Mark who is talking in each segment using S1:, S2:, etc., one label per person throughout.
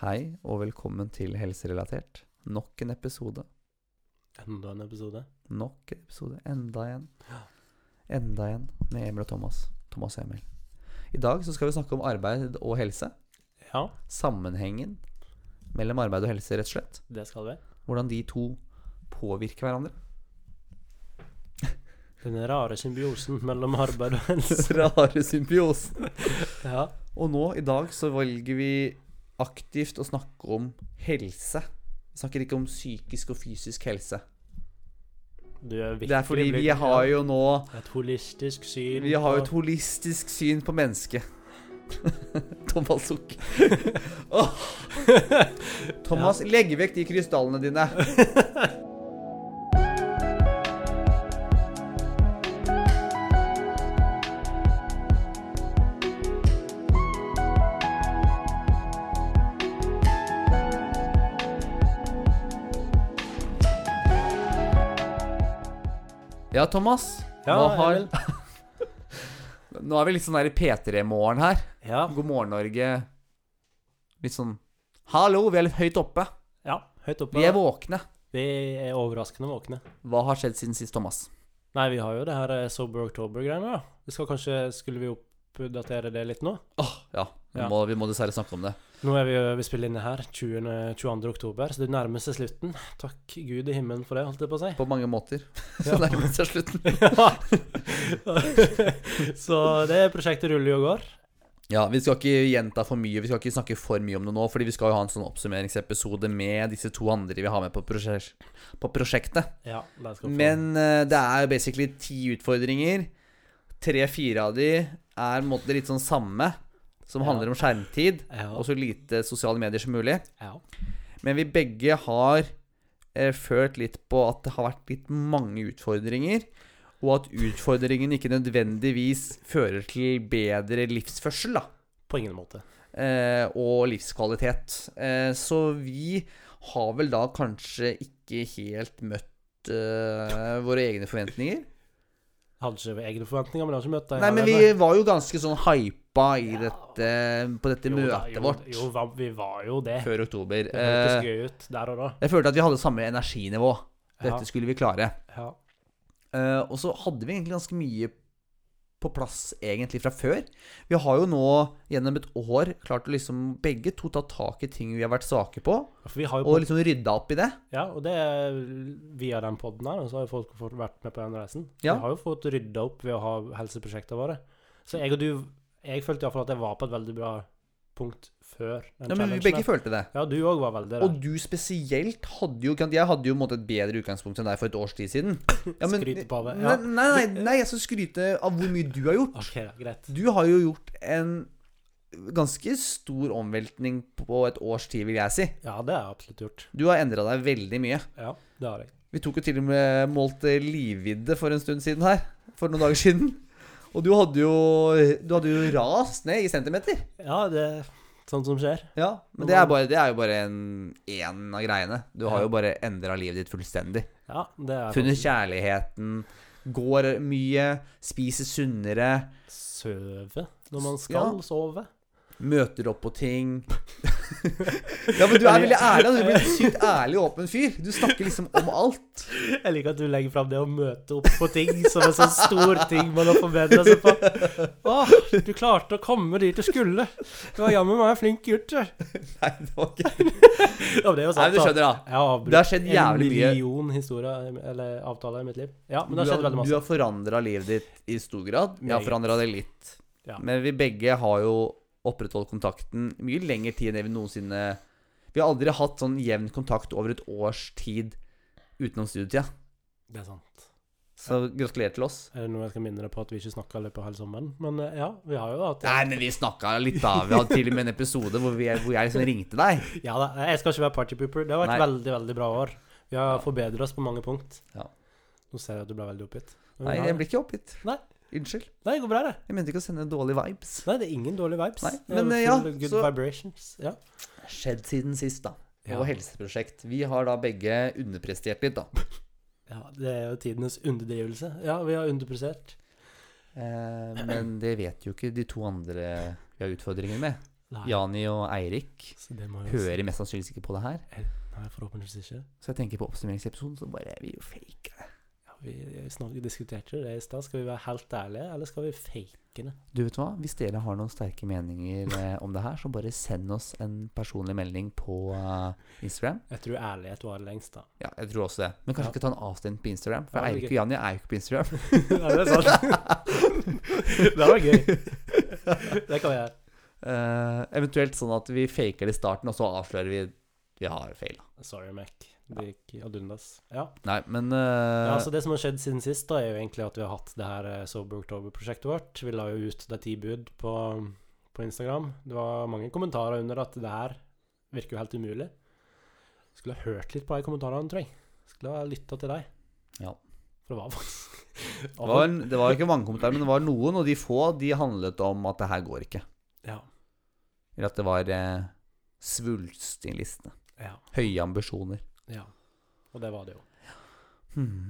S1: Hei og velkommen til Helserelatert. Nok en episode.
S2: Enda en episode.
S1: Nok en episode. Enda en. Enda en med Emil og Thomas. Thomas og Emil. I dag så skal vi snakke om arbeid og helse.
S2: Ja,
S1: Sammenhengen mellom arbeid og helse, rett og slett.
S2: det skal vi.
S1: Hvordan de to påvirker hverandre.
S2: Den rare symbiosen mellom arbeid og helse.
S1: Rare symbiose.
S2: Ja.
S1: Og nå, i dag, så velger vi aktivt å snakke om helse. Vi snakker ikke om psykisk og fysisk helse.
S2: Du er viktig.
S1: Det er fordi vi har jo nå
S2: Et holistisk syn.
S1: Vi har jo
S2: på-
S1: et holistisk syn på mennesket. Thomas sukker. Åh. Thomas, legg vekk de krystallene dine. Ja, Thomas.
S2: Ja,
S1: nå, har,
S2: Emil.
S1: nå er vi litt sånn der i P3-morgen her.
S2: Ja.
S1: God morgen, Norge. Litt sånn Hallo, vi er litt høyt oppe.
S2: ja. Høyt oppe.
S1: Vi er våkne.
S2: Vi er overraskende våkne.
S1: Hva har skjedd siden sist, Thomas?
S2: Nei, vi har jo det her eh, Sober October-greiene, da. Vi skal kanskje Skulle vi oppdatere det litt nå?
S1: Ja, vi,
S2: Ja.
S1: Må, vi må dessverre snakke om det.
S2: Nå er vi, vi spiller inne her 20, 22. oktober, så det nærmer seg slutten. Takk Gud i himmelen for det, holdt jeg på å si.
S1: På mange måter. Så
S2: Ja.
S1: nærmer det seg slutten.
S2: Ja. så det prosjektet ruller jo og går.
S1: Ja, Vi skal ikke gjenta for mye, vi skal ikke snakke for mye om det nå, fordi vi skal jo ha en sånn oppsummeringsepisode med disse to andre vi har med på, prosjek på prosjektet.
S2: Ja, den skal vi få.
S1: Men eh, det er basically ti utfordringer. Tre-fire av de er på en måte litt sånn samme, som
S2: Ja.
S1: handler om skjermtid
S2: ja.
S1: og så lite sosiale medier som mulig.
S2: ja.
S1: Men vi begge har eh, følt litt på at det har vært litt mange utfordringer. Og at utfordringen ikke nødvendigvis fører til bedre livsførsel da,
S2: På ingen måte.
S1: eh, og livskvalitet. Eh, så vi har vel da kanskje ikke helt møtt eh, våre egne forventninger.
S2: Jeg hadde ikke egne forventninger, men jeg har ikke møtt deg.
S1: Nei, men vi var jo ganske sånn hypa i
S2: Ja.
S1: dette, på dette
S2: Jo da,
S1: møtet
S2: jo,
S1: vårt
S2: Jo, va- vi var jo det.
S1: før oktober.
S2: Det hørtes
S1: Eh,
S2: gøy ut der og da.
S1: jeg følte at vi hadde samme energinivå.
S2: Ja,
S1: Dette skulle vi klare.
S2: ja.
S1: Eh, og så hadde vi egentlig ganske mye på plass egentlig fra før. Vi har jo nå gjennom et år klart å liksom begge to ta tak i ting vi har vært svake på,
S2: For vi har jo
S1: og liksom rydda opp i det.
S2: Ja, og det er via den podden her, og så har jo folk fått vært med på den reisen.
S1: Ja.
S2: Vi har jo fått rydda opp ved å ha helseprosjektene våre. Så jeg og du Jeg følte iallfall at jeg var på et veldig bra punkt før den
S1: Ja, men vi
S2: challengen
S1: begge
S2: her.
S1: følte det.
S2: Ja, du òg var veldig der.
S1: Og du spesielt hadde jo Jeg hadde jo på en måte et bedre utgangspunkt enn deg for et års tid siden. Ja, men-
S2: Skryte på meg,
S1: Nei,
S2: ja.
S1: nei, nei, nei, jeg skal skryte av hvor mye du har gjort.
S2: OK, da, greit.
S1: Du har jo gjort en ganske stor omveltning på et års tid, vil jeg si.
S2: Ja, det har jeg absolutt gjort.
S1: Du har endra deg veldig mye.
S2: Ja, det har jeg.
S1: Vi tok jo til og med målt eh, livvidde for en stund siden her. For noen dager siden. Og du hadde jo, du hadde jo rast ned i centimeter.
S2: Ja, det er sånt Sånn som skjer.
S1: Ja, Men det er, bare, det er jo bare en, en av greiene. Du har jo bare endra livet ditt fullstendig.
S2: Ja, det er
S1: Funnet kjærligheten. Går mye. Spiser sunnere.
S2: Søve når man skal
S1: Ja.
S2: sove.
S1: Møter opp på ting. ja, men du er veldig ærlig. da. Du blir en sykt ærlig og åpen fyr. Du snakker liksom om alt.
S2: Jeg liker at du legger fram det å møte opp på ting som en sånn stor ting man har forbedra seg på. Åh, du klarte å komme dit du skulle. Du var jammen meg en flink gutt, du.
S1: Nei, det var ikke
S2: Ja, men det er
S1: Nei,
S2: jo sant,
S1: men du
S2: da.
S1: skjønner, da.
S2: Jeg har avbrutt
S1: Det har skjedd jævlig mye.
S2: en million historier eller avtaler i mitt liv. Ja, men det har
S1: du,
S2: skjedd
S1: har,
S2: veldig
S1: du
S2: masse.
S1: har forandra livet ditt i stor grad. Jeg har
S2: Meget.
S1: forandra det litt.
S2: Ja.
S1: Men vi begge har jo opprettholdt kontakten mye lenger tid enn det vi noensinne Vi har aldri hatt sånn jevn kontakt over et års tid utenom studietida.
S2: Det er sant.
S1: Så gratulerer til oss.
S2: Er det noe jeg skal minne deg på at vi ikke snakka i løpet av hele sommeren? Men eh, ja, vi har jo hatt
S1: Nei, men vi snakka litt, da. Vi hadde til og med en episode hvor, vi, hvor jeg liksom ringte deg.
S2: Ja da, jeg skal ikke være partypooper. Det har vært
S1: Nei.
S2: veldig, veldig bra år. Vi har forbedret oss på mange punkt.
S1: Ja.
S2: Nå ser jeg at du ble veldig oppgitt. Men
S1: Nei,
S2: vi har-
S1: jeg blir ikke oppgitt.
S2: Nei.
S1: Unnskyld.
S2: Nei, det går bra, det.
S1: Jeg mente ikke å sende dårlige vibes.
S2: Nei, det er ingen dårlige vibes.
S1: Nei,
S2: Det er
S1: men, eh,
S2: full
S1: ja,
S2: good
S1: så-
S2: vibrations. Ja.
S1: Skjedd siden sist, da.
S2: Ja.
S1: Og helseprosjekt. Vi har da begge underprestert litt, da.
S2: ja, det er jo tidenes underdrivelse. Ja, vi har underprestert.
S1: Eh, men det vet jo ikke de to andre vi har utfordringer med.
S2: Nei.
S1: Jani og Eirik
S2: Så det må jo
S1: hører mest sannsynligvis ikke på det her.
S2: Nei, forhåpentligvis ikke.
S1: Så jeg tenker på oppsummeringsepisoden, så bare Vi jo faker det.
S2: Ja, vi snakket, diskuterte jo det i stad. Skal vi være helt ærlige, eller skal vi fake det?
S1: Du vet hva, hvis dere har noen sterke meninger eh, om det her, så bare send oss en personlig melding på eh, Instagram.
S2: Jeg tror ærlighet var det lengst, da.
S1: Ja, jeg tror også det. Men kanskje
S2: Ja.
S1: ikke ta en avstemning på Instagram, for
S2: Ja, det blir
S1: Eirik og Jani er jo ikke på Instagram.
S2: ja, det er sant. det var gøy. Det kan vi gjøre.
S1: Eh, eventuelt sånn at vi faker det i starten, og så avslører vi vi har feila.
S2: Sorry, Mac. Det gikk ad undas. Ja.
S1: Nei, men eh,
S2: Ja, altså Det som har skjedd siden sist, da, er jo egentlig at vi har hatt det her eh, Sober October-prosjektet vårt. Vi la jo ut de ti bud på, på Instagram. Det var mange kommentarer under at det her virker jo helt umulig. Skulle ha hørt litt på de kommentarene, tror jeg. Skulle ha lytta til deg.
S1: Ja.
S2: For det var faktisk
S1: det, var, det var ikke mange kommentarer, men det var noen, og de få de handlet om at det her går ikke.
S2: Ja.
S1: Eller at det var eh, svulst i listene.
S2: ja,
S1: Høye ambisjoner.
S2: ja. Og det var det jo.
S1: Hmm.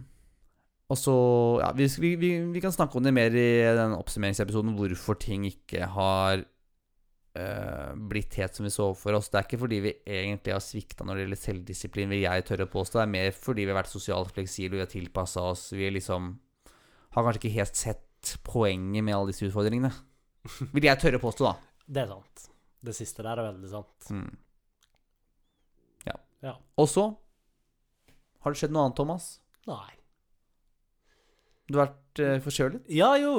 S1: Og så Ja, vi, vi, vi, vi kan snakke om det mer i den oppsummeringsepisoden, hvorfor ting ikke har eh, blitt helt som vi så for oss. Det er ikke fordi vi egentlig har svikta når det gjelder selvdisiplin, vil jeg tørre å påstå. Det er mer fordi vi har vært sosialt fleksible, vi har tilpassa oss. Vi liksom har kanskje ikke helt sett poenget med alle disse utfordringene. Vil jeg tørre å påstå, da.
S2: Det er sant. Det siste der er veldig sant.
S1: Mm. Ja.
S2: Ja.
S1: Og så har det skjedd noe annet, Thomas.
S2: Nei.
S1: Du har vært eh, forkjølet.
S2: Ja, jo!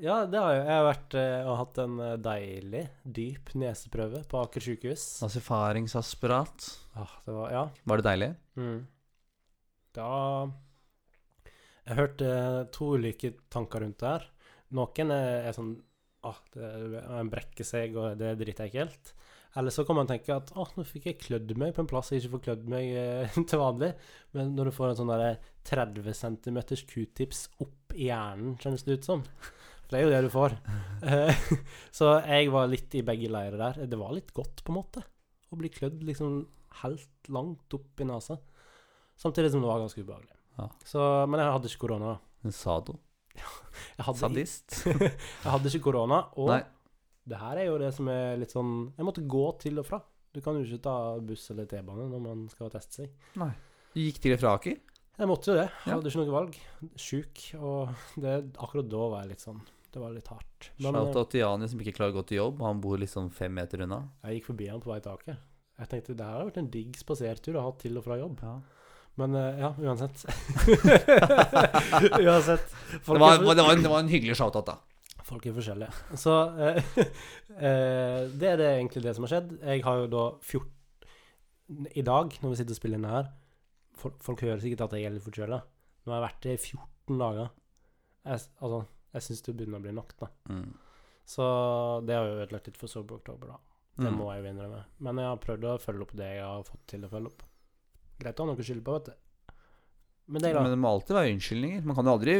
S2: Ja, det har jeg. Jeg har vært, eh, og hatt en eh, deilig, dyp neseprøve på Aker sykehus.
S1: Erfaringsaspirat.
S2: Ah, det var Ja.
S1: Var det deilig?
S2: Mm. Da Jeg hørte to ulike tanker rundt det her. Noen er, er sånn Åh, det en brekker seg, og det er dritekkelt. Eller så kan man tenke at åh, nå fikk jeg klødd meg på en plass jeg ikke får klødd meg eh, til vanlig. Men når du får en sånn derre 30 cm q-tips opp i hjernen, kjennes det ut som. For det er jo det du får. Eh, så jeg var litt i begge leirer der. Det var litt godt, på en måte. Å bli klødd liksom helt langt opp i nesa. Samtidig som det var ganske ubehagelig.
S1: Ja.
S2: Så, men jeg hadde ikke korona. da.
S1: En sado.
S2: Jeg hadde,
S1: Sadist.
S2: jeg hadde ikke korona, og
S1: Nei.
S2: det her er jo det som er litt sånn Jeg måtte gå til og fra. Du kan jo ikke ta buss eller T-bane når man skal teste seg.
S1: Du gikk til og fra Aker?
S2: Jeg måtte jo det. Jeg
S1: Ja.
S2: hadde ikke noe valg. Sjuk. Og det, akkurat da var jeg litt sånn Det var litt hardt. Men eh,
S1: Shout-out til Jani som ikke klarer å gå til jobb. Han bor liksom fem meter unna.
S2: jeg gikk forbi han på vei til Aker. Jeg tenkte det her har vært en digg spasertur å ha til og fra jobb. Men eh, ja, uansett. uansett.
S1: Det, var, det, var en, det var en hyggelig shout-out, da.
S2: Folk er forskjellige. Så eh, eh, det er det egentlig det som har skjedd. Jeg har jo da 14 I dag, når vi sitter og spiller inn det her Folk, folk hører sikkert at jeg er litt forkjøla. Nå har jeg vært det i 14 dager. Jeg, s- altså, jeg syns det begynner å bli nok, da.
S1: Mm.
S2: Så det har jo ødelagt litt for Sober Oktober, da. Det
S1: Mm.
S2: må jeg jo innrømme. Men jeg har prøvd å følge opp det jeg har fått til å følge opp. Greit å ha noe å skylde på, vet du. Men deg, da?
S1: Men det må alltid være unnskyldninger. Man kan jo aldri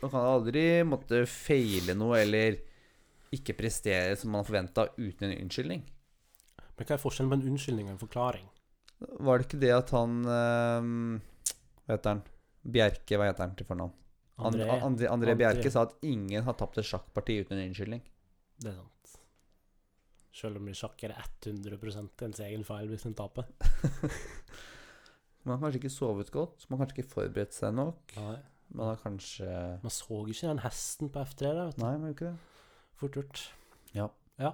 S1: Man kan aldri måtte feile noe eller ikke prestere som man har forventa, uten en unnskyldning.
S2: Men hva er forskjellen på en unnskyldning og en forklaring?
S1: Var det ikke det at han eh, Hva heter han? Bjerke, hva heter han til fornavn? André,
S2: André,
S1: André, André
S2: André.
S1: Bjerke sa at ingen har tapt et sjakkparti uten en unnskyldning.
S2: Det er sant. Selv om i sjakk er det 100 ens egen feil hvis en taper.
S1: Man har kanskje ikke sovet godt, man har kanskje ikke forberedt seg nok. Man har kanskje Nei,
S2: Man så ikke den hesten på F3. Da, vet du.
S1: man gjør ikke det.
S2: Fort gjort.
S1: Ja.
S2: ja.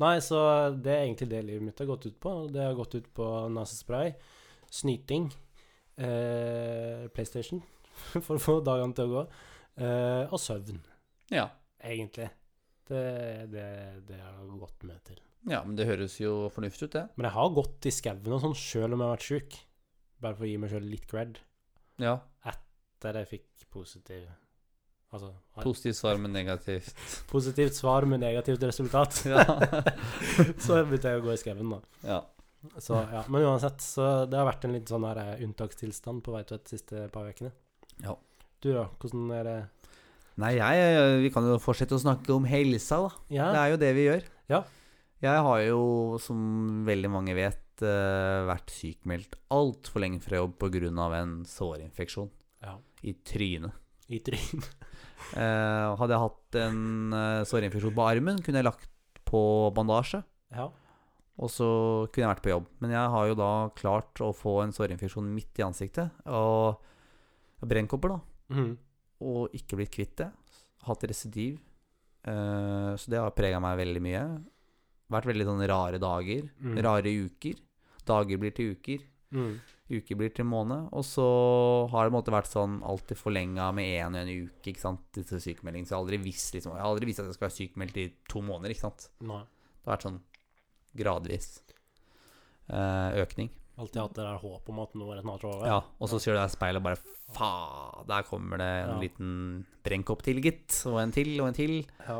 S2: Nei, så det er egentlig det livet mitt har gått ut på. Det har gått ut på nesespray, snyting, eh, PlayStation for å få dagene til å gå, eh, og søvn,
S1: Ja.
S2: egentlig. Det, det, det har jeg gått med til.
S1: ja, men det høres jo fornuftig ut, det.
S2: Men jeg har gått i skauen og sånn sjøl om jeg har vært sjuk. Bare for å gi meg sjøl litt cred.
S1: Ja.
S2: der jeg fikk positiv Altså har-
S1: Positivt svar, men negativt.
S2: positivt svar med negativt resultat.
S1: Ja.
S2: så begynte jeg å gå i skauen, da.
S1: ja.
S2: Så, ja. Men uansett, så det har vært en litt sånn her eh, unntakstilstand på Veitvet de siste par ukene.
S1: Ja.
S2: Du, da? Hvordan er det
S1: Nei, jeg eh, Vi kan jo fortsette å snakke om helsa, da. Det
S2: Ja,
S1: er jo det vi gjør.
S2: Ja.
S1: Jeg har jo, som veldig mange vet, eh, vært sykmeldt altfor lenge fra jobb pga. en sårinfeksjon
S2: ja.
S1: i trynet.
S2: i trynet.
S1: Eh, hadde jeg hatt en eh, sårinfeksjon på armen, kunne jeg lagt på bandasje.
S2: Ja.
S1: Og så kunne jeg vært på jobb. Men jeg har jo da klart å få en sårinfeksjon midt i ansiktet. Og brennkopper, da.
S2: Mhm.
S1: Og ikke blitt kvitt det. Hatt residiv. Eh, så det har prega meg veldig mye. Vært veldig sånne rare dager.
S2: Mm.
S1: Rare uker. Dager blir til uker.
S2: Mhm.
S1: Uker blir til måned. Og så har det på en måte vært sånn alltid forlenga med én og en uke, ikke sant, disse sykemeldingene. Så jeg har aldri visst liksom, jeg har aldri visst at jeg skal være sykemeldt i to måneder, ikke sant.
S2: Nei.
S1: Det har vært sånn gradvis eh, økning.
S2: Alltid hatt det der håpet om at nå er det snart over.
S1: Ja, og så ser du deg i speilet og bare Faen, der kommer det en
S2: Ja.
S1: liten brennkopp til, gitt. Og en til, og en til.
S2: Ja.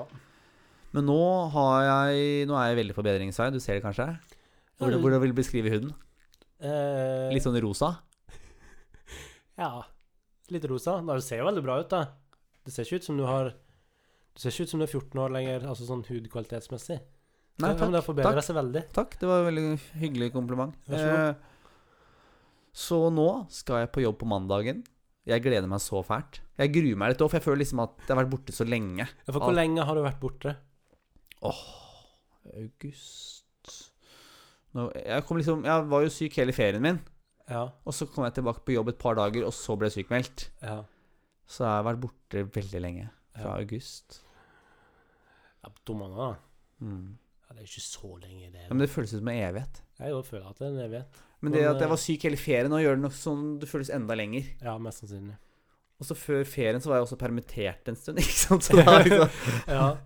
S1: Men nå har jeg Nå er jeg veldig på bedringsvei, du ser det kanskje? Hvordan
S2: du-
S1: hvordan vil du beskrive huden?
S2: Eh,
S1: Litt sånn rosa?
S2: Ja. Litt rosa. Nei, Det ser jo veldig bra ut, da. Det ser ikke ut som du har Det ser ikke ut som du er 14 år lenger, altså sånn hudkvalitetsmessig.
S1: Nei,
S2: Så- men
S1: takk.
S2: det har forbedra seg veldig.
S1: takk. Det var en veldig hyggelig kompliment.
S2: Vær så god.
S1: Eh, så nå skal jeg på jobb på mandagen. Jeg gleder meg så fælt. Jeg gruer meg litt òg, for jeg føler liksom at jeg har vært borte så lenge.
S2: Ja, For hvor lenge har du vært borte?
S1: August nå, jeg, kom liksom, jeg var jo syk hele ferien min,
S2: Ja.
S1: og så kom jeg tilbake på jobb et par dager, og så ble jeg sykmeldt.
S2: ja.
S1: Så jeg har vært borte veldig lenge. Fra
S2: Ja.
S1: august.
S2: ja to måneder, da.
S1: Mm.
S2: Ja, det er ikke så lenge, det.
S1: Ja, men det føles ut som en evighet.
S2: Jeg jo føler at det er en evighet.
S1: Men det at
S2: eh,
S1: jeg var syk hele ferien, nå gjør det nok sånn det føles enda lenger.
S2: Ja, mest sannsynlig.
S1: Og så før ferien så var jeg også permittert en stund, ikke sant. Så, det var liksom,
S2: Ja.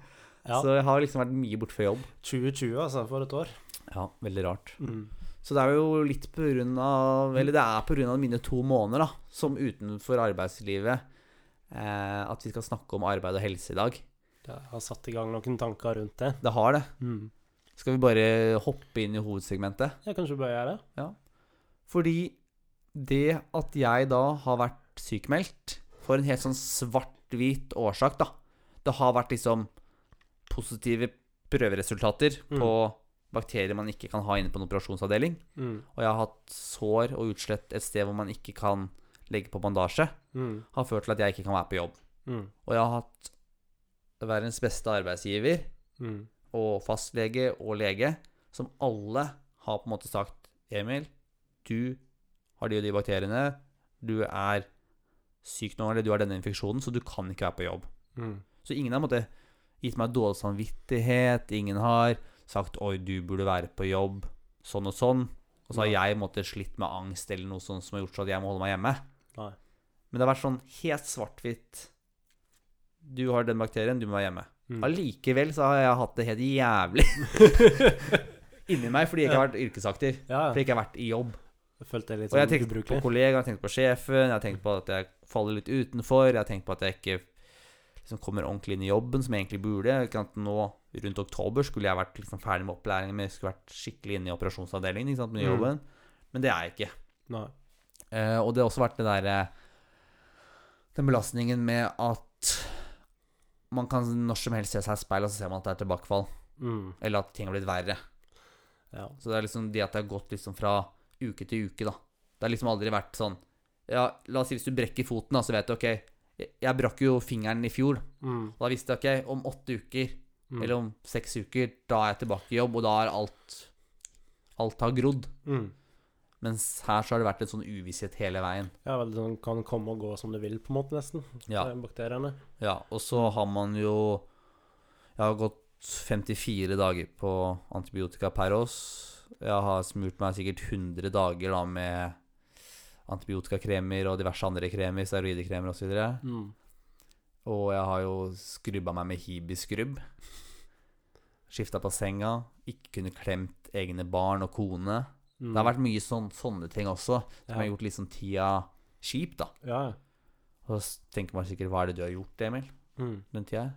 S2: Ja.
S1: så jeg har liksom vært mye borte fra jobb.
S2: 2020, altså, for et år.
S1: Ja, veldig rart.
S2: Mm.
S1: Så det er jo litt på grunn av Eller det er på grunn av mine to måneder da som utenfor arbeidslivet eh, at vi skal snakke om arbeid og helse i dag.
S2: Det har satt i gang noen tanker rundt det.
S1: Det har det.
S2: Mm.
S1: Skal vi bare hoppe inn i hovedsegmentet?
S2: Ja, kanskje du bør gjøre det?
S1: Fordi det at jeg da har vært sykemeldt for en helt sånn svart-hvit årsak, da Det har vært liksom positive prøveresultater
S2: Mm.
S1: på bakterier man ikke kan ha inne på en operasjonsavdeling.
S2: Mm.
S1: Og jeg har hatt sår og utslett et sted hvor man ikke kan legge på bandasje.
S2: Mm.
S1: har ført til at jeg ikke kan være på jobb.
S2: Mm.
S1: Og jeg har hatt verdens beste arbeidsgiver
S2: Mm.
S1: og fastlege og lege, som alle har på en måte sagt Emil, du har de og de bakteriene, du er syk nå, eller du har denne infeksjonen, så du kan ikke være på jobb.
S2: Mm.
S1: Så ingen har på en måte gitt meg dårlig samvittighet, ingen har sagt oi, du burde være på jobb, sånn og sånn. Og så har
S2: Nei.
S1: jeg måtte slitt med angst eller noe sånt som har gjort så at jeg må holde meg hjemme.
S2: Nei.
S1: Men det har vært sånn helt svart-hvitt. Du har den bakterien, du må være hjemme.
S2: Mm.
S1: Allikevel så har jeg hatt det helt jævlig inni meg fordi jeg ikke har vært yrkesaktiv.
S2: Ja,
S1: Fordi jeg ikke har vært i jobb.
S2: jeg følte det litt
S1: Og jeg har
S2: sånn
S1: tenkt på
S2: ubrukelig.
S1: kollegaer, jeg har tenkt på sjefen, jeg har tenkt på at jeg faller litt utenfor, jeg har tenkt på at jeg ikke liksom kommer ordentlig inn i jobben som jeg egentlig burde. Ikke sant? Nå rundt oktober skulle jeg vært liksom ferdig med opplæringen, men jeg skulle vært skikkelig inne i operasjonsavdelingen ikke sant? med
S2: Mm.
S1: jobben. Men det er jeg ikke.
S2: Nei.
S1: Eh, og det har også vært det der, eh, den belastningen med at man kan når som helst se seg i speilet, og så ser man at det er tilbakefall.
S2: Mm.
S1: Eller at ting har blitt verre.
S2: Ja.
S1: Så det er liksom det at det har gått liksom fra uke til uke, da. Det har liksom aldri vært sånn Ja, la oss si hvis du brekker foten, da, så vet du OK, jeg- jeg brakk jo fingeren i fjor.
S2: Mm.
S1: Og da visste jeg OK, om åtte uker,
S2: Mm.
S1: eller om seks uker, da er jeg tilbake i jobb, og da er alt Alt har grodd.
S2: mm.
S1: Mens her så har det vært en sånn uvisshet hele veien.
S2: Ja, vel, den kan komme og gå som du vil, på en måte, nesten.
S1: Ja.
S2: de Bakteriene.
S1: Ja, og så har man jo Jeg har gått 54 dager på antibiotika per oss. Jeg har smurt meg sikkert 100 dager da med antibiotikakremer og diverse andre kremer, steroidekremer osv. Og,
S2: Mm.
S1: så og jeg har jo skrubba meg med hibiskrubb. Skifta på senga. Ikke kunne klemt egne barn og kone.
S2: Mm.
S1: Det har vært mye sånn, sånne ting også, som
S2: ja.
S1: har gjort liksom tida kjip, da.
S2: Ja, ja.
S1: Og så tenker man sikkert Hva er det du har gjort, Emil?
S2: Mm.
S1: den tida. her.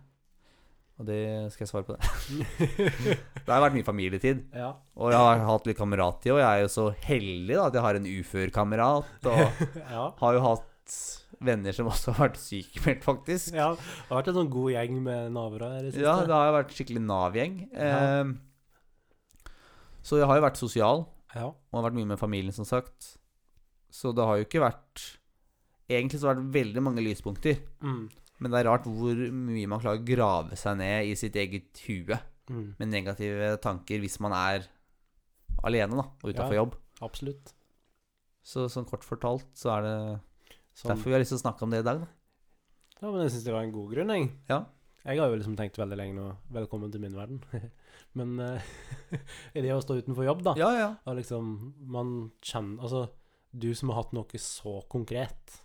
S1: Og det skal jeg svare på det. det har vært mye familietid.
S2: ja.
S1: Og jeg har hatt litt kamerattid, og jeg er jo så heldig da, at jeg har en uførkamerat. Og
S2: ja.
S1: har jo hatt venner som også har vært sykemeldt, faktisk.
S2: Ja, det har vært en sånn god gjeng med naboer her i det siste.
S1: Ja, det har jo vært skikkelig Nav-gjeng.
S2: Ja.
S1: Ehm, Så jeg har jo vært sosial,
S2: Ja.
S1: og har vært mye med familien, som sagt. Så det har jo ikke vært Egentlig så har det vært veldig mange lyspunkter.
S2: Mm.
S1: Men det er rart hvor mye man klarer å grave seg ned i sitt eget hue.
S2: Mm,
S1: med negative tanker hvis man er alene da, og utafor
S2: Ja.
S1: jobb.
S2: absolutt.
S1: Så sånn kort fortalt så er det
S2: Sånn.
S1: derfor vi har lyst til å snakke om det i dag. Da.
S2: Ja, men jeg syns det var en god grunn, jeg.
S1: Ja.
S2: Jeg har jo liksom tenkt veldig lenge nå Velkommen til min verden. men eh, i det å stå utenfor jobb, da,
S1: Ja, ja.
S2: og liksom Man kjenner Altså, du som har hatt noe så konkret,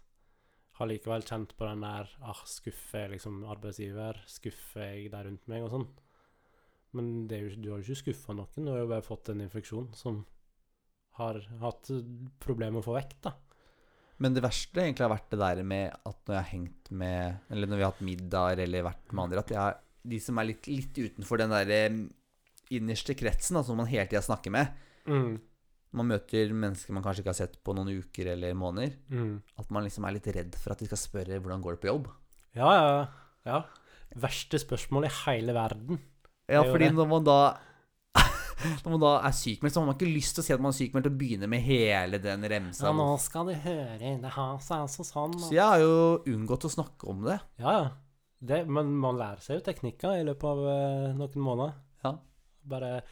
S2: har likevel kjent på den der ah, Skuffer jeg liksom arbeidsgiver? Skuffer jeg der rundt meg? Og sånn. Men det er jo, ikke- du har jo ikke skuffa noen, du har jo bare fått en infeksjon som har hatt problemer med å få vekk, da.
S1: Men det verste egentlig har vært det der med at når jeg har hengt med Eller når vi har hatt middag eller vært med andre, at jeg, de som er litt, litt utenfor den der eh, innerste kretsen, altså som man hele tida snakker med Man møter mennesker man kanskje ikke har sett på noen uker eller måneder.
S2: Mm.
S1: At man liksom er litt redd for at de skal spørre hvordan går det på jobb.
S2: Ja, ja, ja. Verste spørsmål i hele verden.
S1: Ja,
S2: Det er jo
S1: fordi
S2: det.
S1: når man da Når man da er sykmeldt, så har man ikke lyst til å si at man er sykmeldt, og begynne med hele den remsa.
S2: Ja, nå skal du høre, det har seg altså sånn.
S1: Så
S2: og-
S1: jeg har jo unngått å snakke om det.
S2: Ja, ja. Det, men man lærer seg jo teknikker i løpet av eh, noen måneder.
S1: Ja.
S2: Bare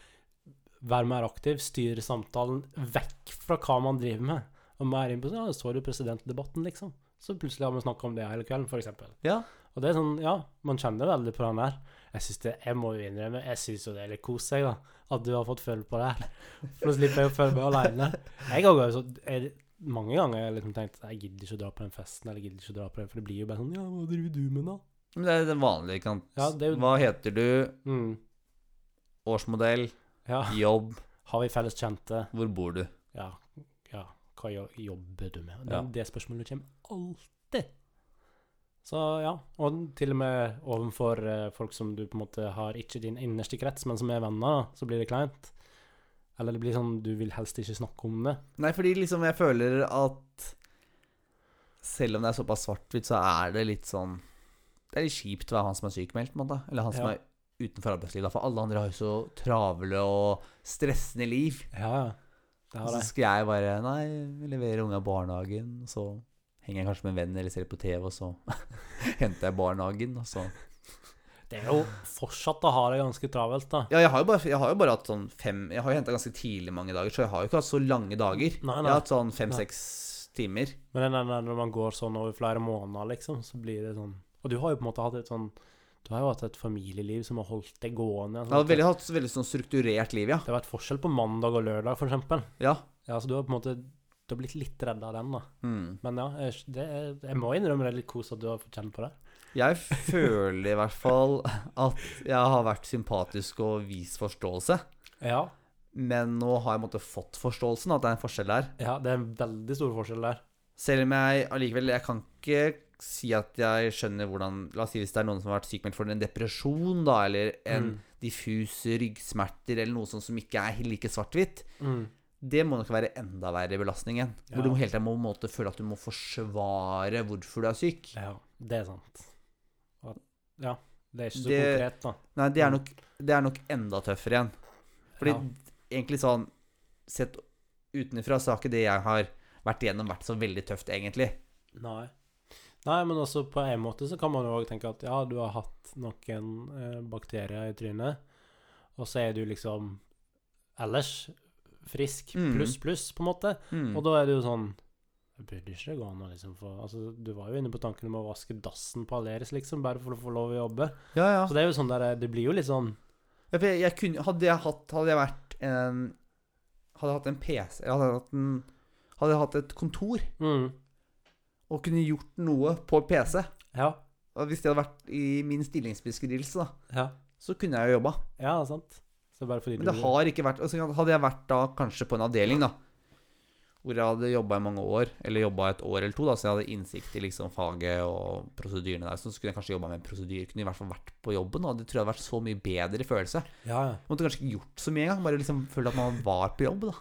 S2: vær mer aktiv, styr samtalen vekk fra hva man driver med, og mer inn på sånn, ja, så du presidentdebatten, liksom. Så plutselig har vi snakket om det hele kvelden, for eksempel.
S1: Ja.
S2: Og det er sånn, ja, man kjenner veldig på den der. Jeg synes det, jeg må jo innrømme, jeg synes jo det er litt kos jeg da, at du har fått følge på det her. For nå slipper jeg å følge meg alene. Jeg har jo så, jeg, mange ganger har jeg liksom tenkt, jeg gidder ikke å dra på den festen, eller jeg gidder ikke å dra på den, for det blir jo bare sånn, ja, hva driver du med da?
S1: Men det er den vanlige, ikke sant.
S2: Ja, det er jo-
S1: Hva heter du?
S2: Mm.
S1: Årsmodell?
S2: Ja,
S1: Jobb?
S2: har vi felles kjente?
S1: Hvor bor du?
S2: Ja, ja, hva jo- jobber du med? Det,
S1: Ja.
S2: det spørsmålet kommer alltid. Så ja, og til og med overfor eh, folk som du på en måte har ikke din innerste krets, men som er venner, så blir det kleint. Eller det blir sånn, du vil helst ikke snakke om det.
S1: Nei, fordi liksom jeg føler at selv om det er såpass svart-hvitt, så er det litt sånn Det er litt kjipt å være han som er sykmeldt, på en måte. Eller han som
S2: Ja.
S1: er utenfor arbeidslivet. For alle andre har jo så travle og stressende liv.
S2: Ja, ja. Altså,
S1: Og
S2: Det har
S1: så
S2: jeg.
S1: skal jeg bare Nei, vi leverer unga i barnehagen, og så henger jeg kanskje med en venn eller ser på TV, og så henter jeg barnehagen, og så
S2: Det er jo fortsatt å ha det ganske travelt, da.
S1: Ja, jeg har jo bare, jeg har jo bare hatt sånn fem Jeg har jo henta ganske tidlig mange dager, så jeg har jo ikke hatt så lange dager.
S2: Nei,
S1: Jeg
S2: nei.
S1: har hatt sånn
S2: Nei.
S1: fem-seks timer.
S2: Men den der når man går sånn over flere måneder, liksom, så blir det sånn Og du har jo på en måte hatt et sånn Du har jo hatt et familieliv som har holdt deg gående. altså.
S1: Jeg har veldig, hatt veldig sånn strukturert liv, ja.
S2: Det har vært forskjell på mandag og lørdag, for eksempel.
S1: Ja.
S2: Ja, så du har på en måte Du har blitt litt redd av den, da.
S1: Mm.
S2: Men ja, jeg- det, er- jeg må innrømme det er litt kos at du har fått kjenne på det.
S1: Jeg føler i hvert fall at jeg har vært sympatisk og vist forståelse.
S2: Ja,
S1: Men nå har jeg på en måte fått forståelsen, at det er en forskjell der.
S2: ja, det er en veldig stor forskjell der.
S1: Selv om jeg allikevel Jeg kan ikke si at jeg skjønner hvordan La oss si hvis det er noen som har vært sykmeldt for en depresjon, da, eller en
S2: Mm.
S1: diffus ryggsmerter, eller noe sånt som ikke er like svart-hvitt.
S2: Mm.
S1: Det må nok være enda verre belastning igjen. Hvor
S2: Ja.
S1: du må hele tiden må på en måte føle at du må forsvare hvorfor du er syk.
S2: Ja, det er sant. Og- Ja. Det er ikke så
S1: Det-
S2: konkret, da.
S1: Nei, det er
S2: Mm.
S1: nok, det er nok enda tøffere igjen. Fordi
S2: Ja.
S1: egentlig sånn Sett utenfra så har ikke det jeg har vært igjennom, vært så veldig tøft, egentlig.
S2: Nei. Nei, men også på en måte så kan man jo òg tenke at ja, du har hatt noen eh, bakterier i trynet, og så er du liksom ellers frisk,
S1: Mm.
S2: pluss, pluss, på en måte.
S1: Mm.
S2: Og da er det jo sånn Jeg burde ikke det gå an å liksom få Altså, du var jo inne på tanken om å vaske dassen på Aleris, liksom, bare for å få lov å jobbe.
S1: Ja, ja.
S2: Så det er jo sånn der Det blir jo litt sånn
S1: Ja, for jeg, jeg kunne, hadde jeg hatt Hadde jeg vært en Hadde jeg hatt en PC eller Hadde jeg hatt, en, hadde jeg hatt et kontor
S2: mm,
S1: og kunne gjort noe på PC
S2: Ja.
S1: og Hvis det hadde vært i min stillingsbeskrivelse, da,
S2: Ja,
S1: så kunne jeg jo jobba.
S2: ja sant. Så bare fordi
S1: Men det
S2: du
S1: har ikke vært altså, Hadde jeg vært da kanskje på en avdeling, da, hvor jeg hadde jobba i mange år, eller jobba et år eller to, da, så jeg hadde innsikt i liksom faget og prosedyrene der, så kunne jeg kanskje jobba med prosedyr. Kunne i hvert fall vært på jobben, og det tror jeg hadde vært så mye bedre følelse.
S2: Ja, ja.
S1: Jeg måtte kanskje ikke gjort så mye engang, bare liksom føle at man var på jobb, da.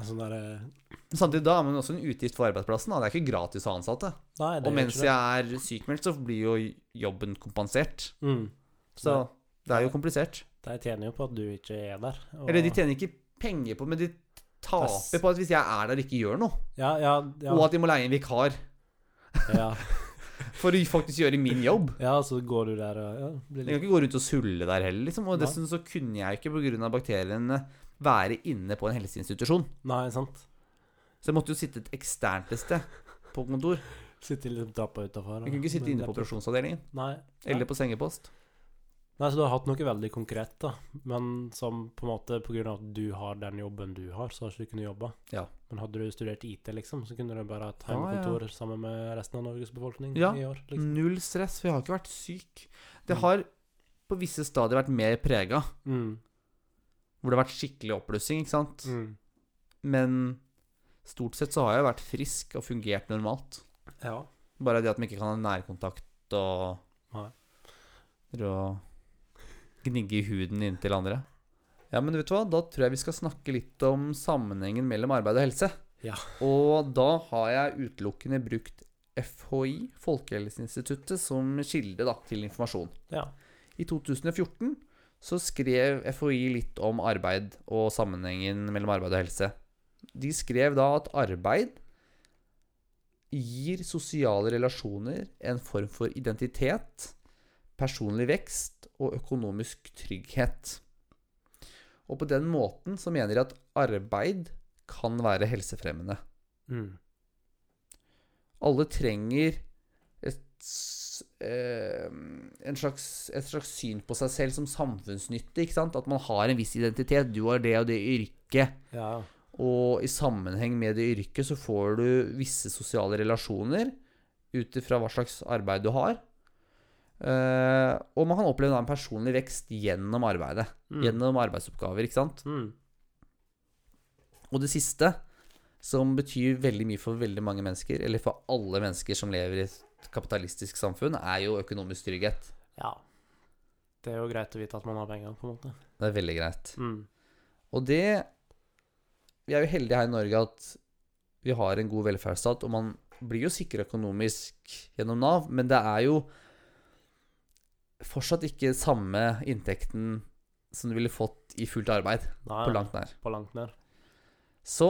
S2: En sånn derre
S1: Men samtidig da er man også en utgift for arbeidsplassen. Da. Det er ikke gratis å ha ansatte.
S2: Nei,
S1: Og
S2: det er jo
S1: mens
S2: ikke det.
S1: jeg er sykmeldt, så blir jo jobben kompensert.
S2: Mm.
S1: Så det er jo komplisert.
S2: De tjener jo på at du ikke er der. og-
S1: Eller de tjener ikke penger på men de
S2: Ass.
S1: taper på at hvis jeg er der og ikke gjør noe,
S2: Ja, ja, ja.
S1: og at de må leie en vikar
S2: ja.
S1: for å faktisk gjøre min jobb.
S2: Ja, så går du der og ja, blir
S1: Jeg kan
S2: litt
S1: ikke gå rundt og sulle der heller, liksom. Og
S2: Nei.
S1: dessuten så kunne jeg ikke pga. bakteriene være inne på en helseinstitusjon.
S2: Nei, sant?
S1: Så jeg måtte jo sitte et eksternt et sted, på kontor.
S2: Sitter litt liksom dappa utafor.
S1: Jeg kunne ikke sitte inne på operasjonsavdelingen
S2: Nei.
S1: eller på sengepost.
S2: Nei, så du har hatt noe veldig konkret, da. Men som på en måte på grunn av at du har den jobben du har, så har ikke du kunnet jobbe.
S1: Ja.
S2: Men hadde du studert IT, liksom, så kunne du bare hatt
S1: Ja, ja.
S2: hjemmekontor sammen med resten av Norges befolkning
S1: Ja.
S2: i år. Liksom.
S1: Null stress, for jeg har ikke vært syk.
S2: Mm.
S1: Det har på visse stadier vært mer prega,
S2: Mm.
S1: hvor det har vært skikkelig oppblussing, ikke sant.
S2: Mm.
S1: Men stort sett så har jeg vært frisk og fungert normalt.
S2: Ja.
S1: Bare det at man ikke kan ha nærkontakt og
S2: Nei.
S1: Eller å gnigge i huden inntil andre. Ja, men vet du hva? Da tror jeg vi skal snakke litt om sammenhengen mellom arbeid og helse.
S2: Ja.
S1: Og da har jeg utelukkende brukt FHI, Folkehelseinstituttet, som kilde da, til informasjon.
S2: ja.
S1: I 2014 så skrev FHI litt om arbeid og sammenhengen mellom arbeid og helse. De skrev da at arbeid gir sosiale relasjoner en form for identitet, personlig vekst og økonomisk trygghet. Og på den måten så mener de at arbeid kan være helsefremmende.
S2: Mm.
S1: Alle trenger et, s- eh, en slags, et slags syn på seg selv som samfunnsnyttig. Ikke sant? At man har en viss identitet. Du har det og det yrket.
S2: ja.
S1: Og i sammenheng med det yrket så får du visse sosiale relasjoner ut ifra hva slags arbeid du har. Eh, og man kan oppleve da en personlig vekst gjennom arbeidet.
S2: Mm.
S1: Gjennom arbeidsoppgaver, ikke sant.
S2: Mm.
S1: Og det siste, som betyr veldig mye for veldig mange mennesker, eller for alle mennesker som lever i et kapitalistisk samfunn, er jo økonomisk trygghet.
S2: Ja. Det er jo greit å vite at man har penger, på en måte.
S1: Det er veldig greit.
S2: Mm.
S1: Og det Vi er jo heldige her i Norge at vi har en god velferdsstat, og man blir jo sikra økonomisk gjennom Nav, men det er jo fortsatt ikke samme inntekten som du ville fått i fullt arbeid,
S2: Nei,
S1: på langt nær.
S2: På langt ned.
S1: Så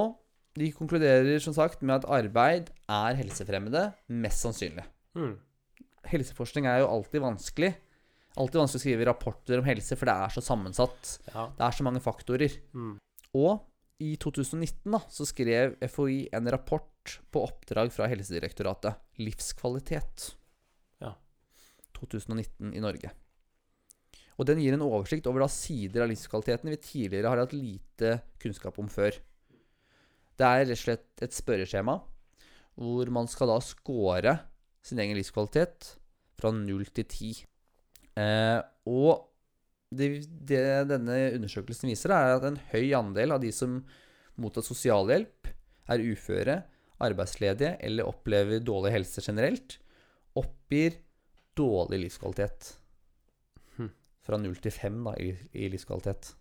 S1: de konkluderer som sagt med at arbeid er helsefremmende, mest sannsynlig.
S2: Mm.
S1: Helseforskning er jo alltid vanskelig. Alltid vanskelig å skrive rapporter om helse, for det er så sammensatt.
S2: Ja.
S1: Det er så mange faktorer.
S2: Mm.
S1: Og i 2019 da, så skrev FHI en rapport på oppdrag fra Helsedirektoratet, 'Livskvalitet',
S2: Ja.
S1: 2019 i Norge. Og den gir en oversikt over da sider av livskvaliteten vi tidligere har hatt lite kunnskap om før. Det er rett og slett et spørreskjema hvor man skal da score sin egen livskvalitet fra 0 til 10. Eh, og det, det denne undersøkelsen viser, er at en høy andel av de som mottar sosialhjelp, er uføre, arbeidsledige eller opplever dårlig helse generelt, oppgir dårlig livskvalitet.
S2: Hm.
S1: Fra null til fem da, i, i livskvalitet.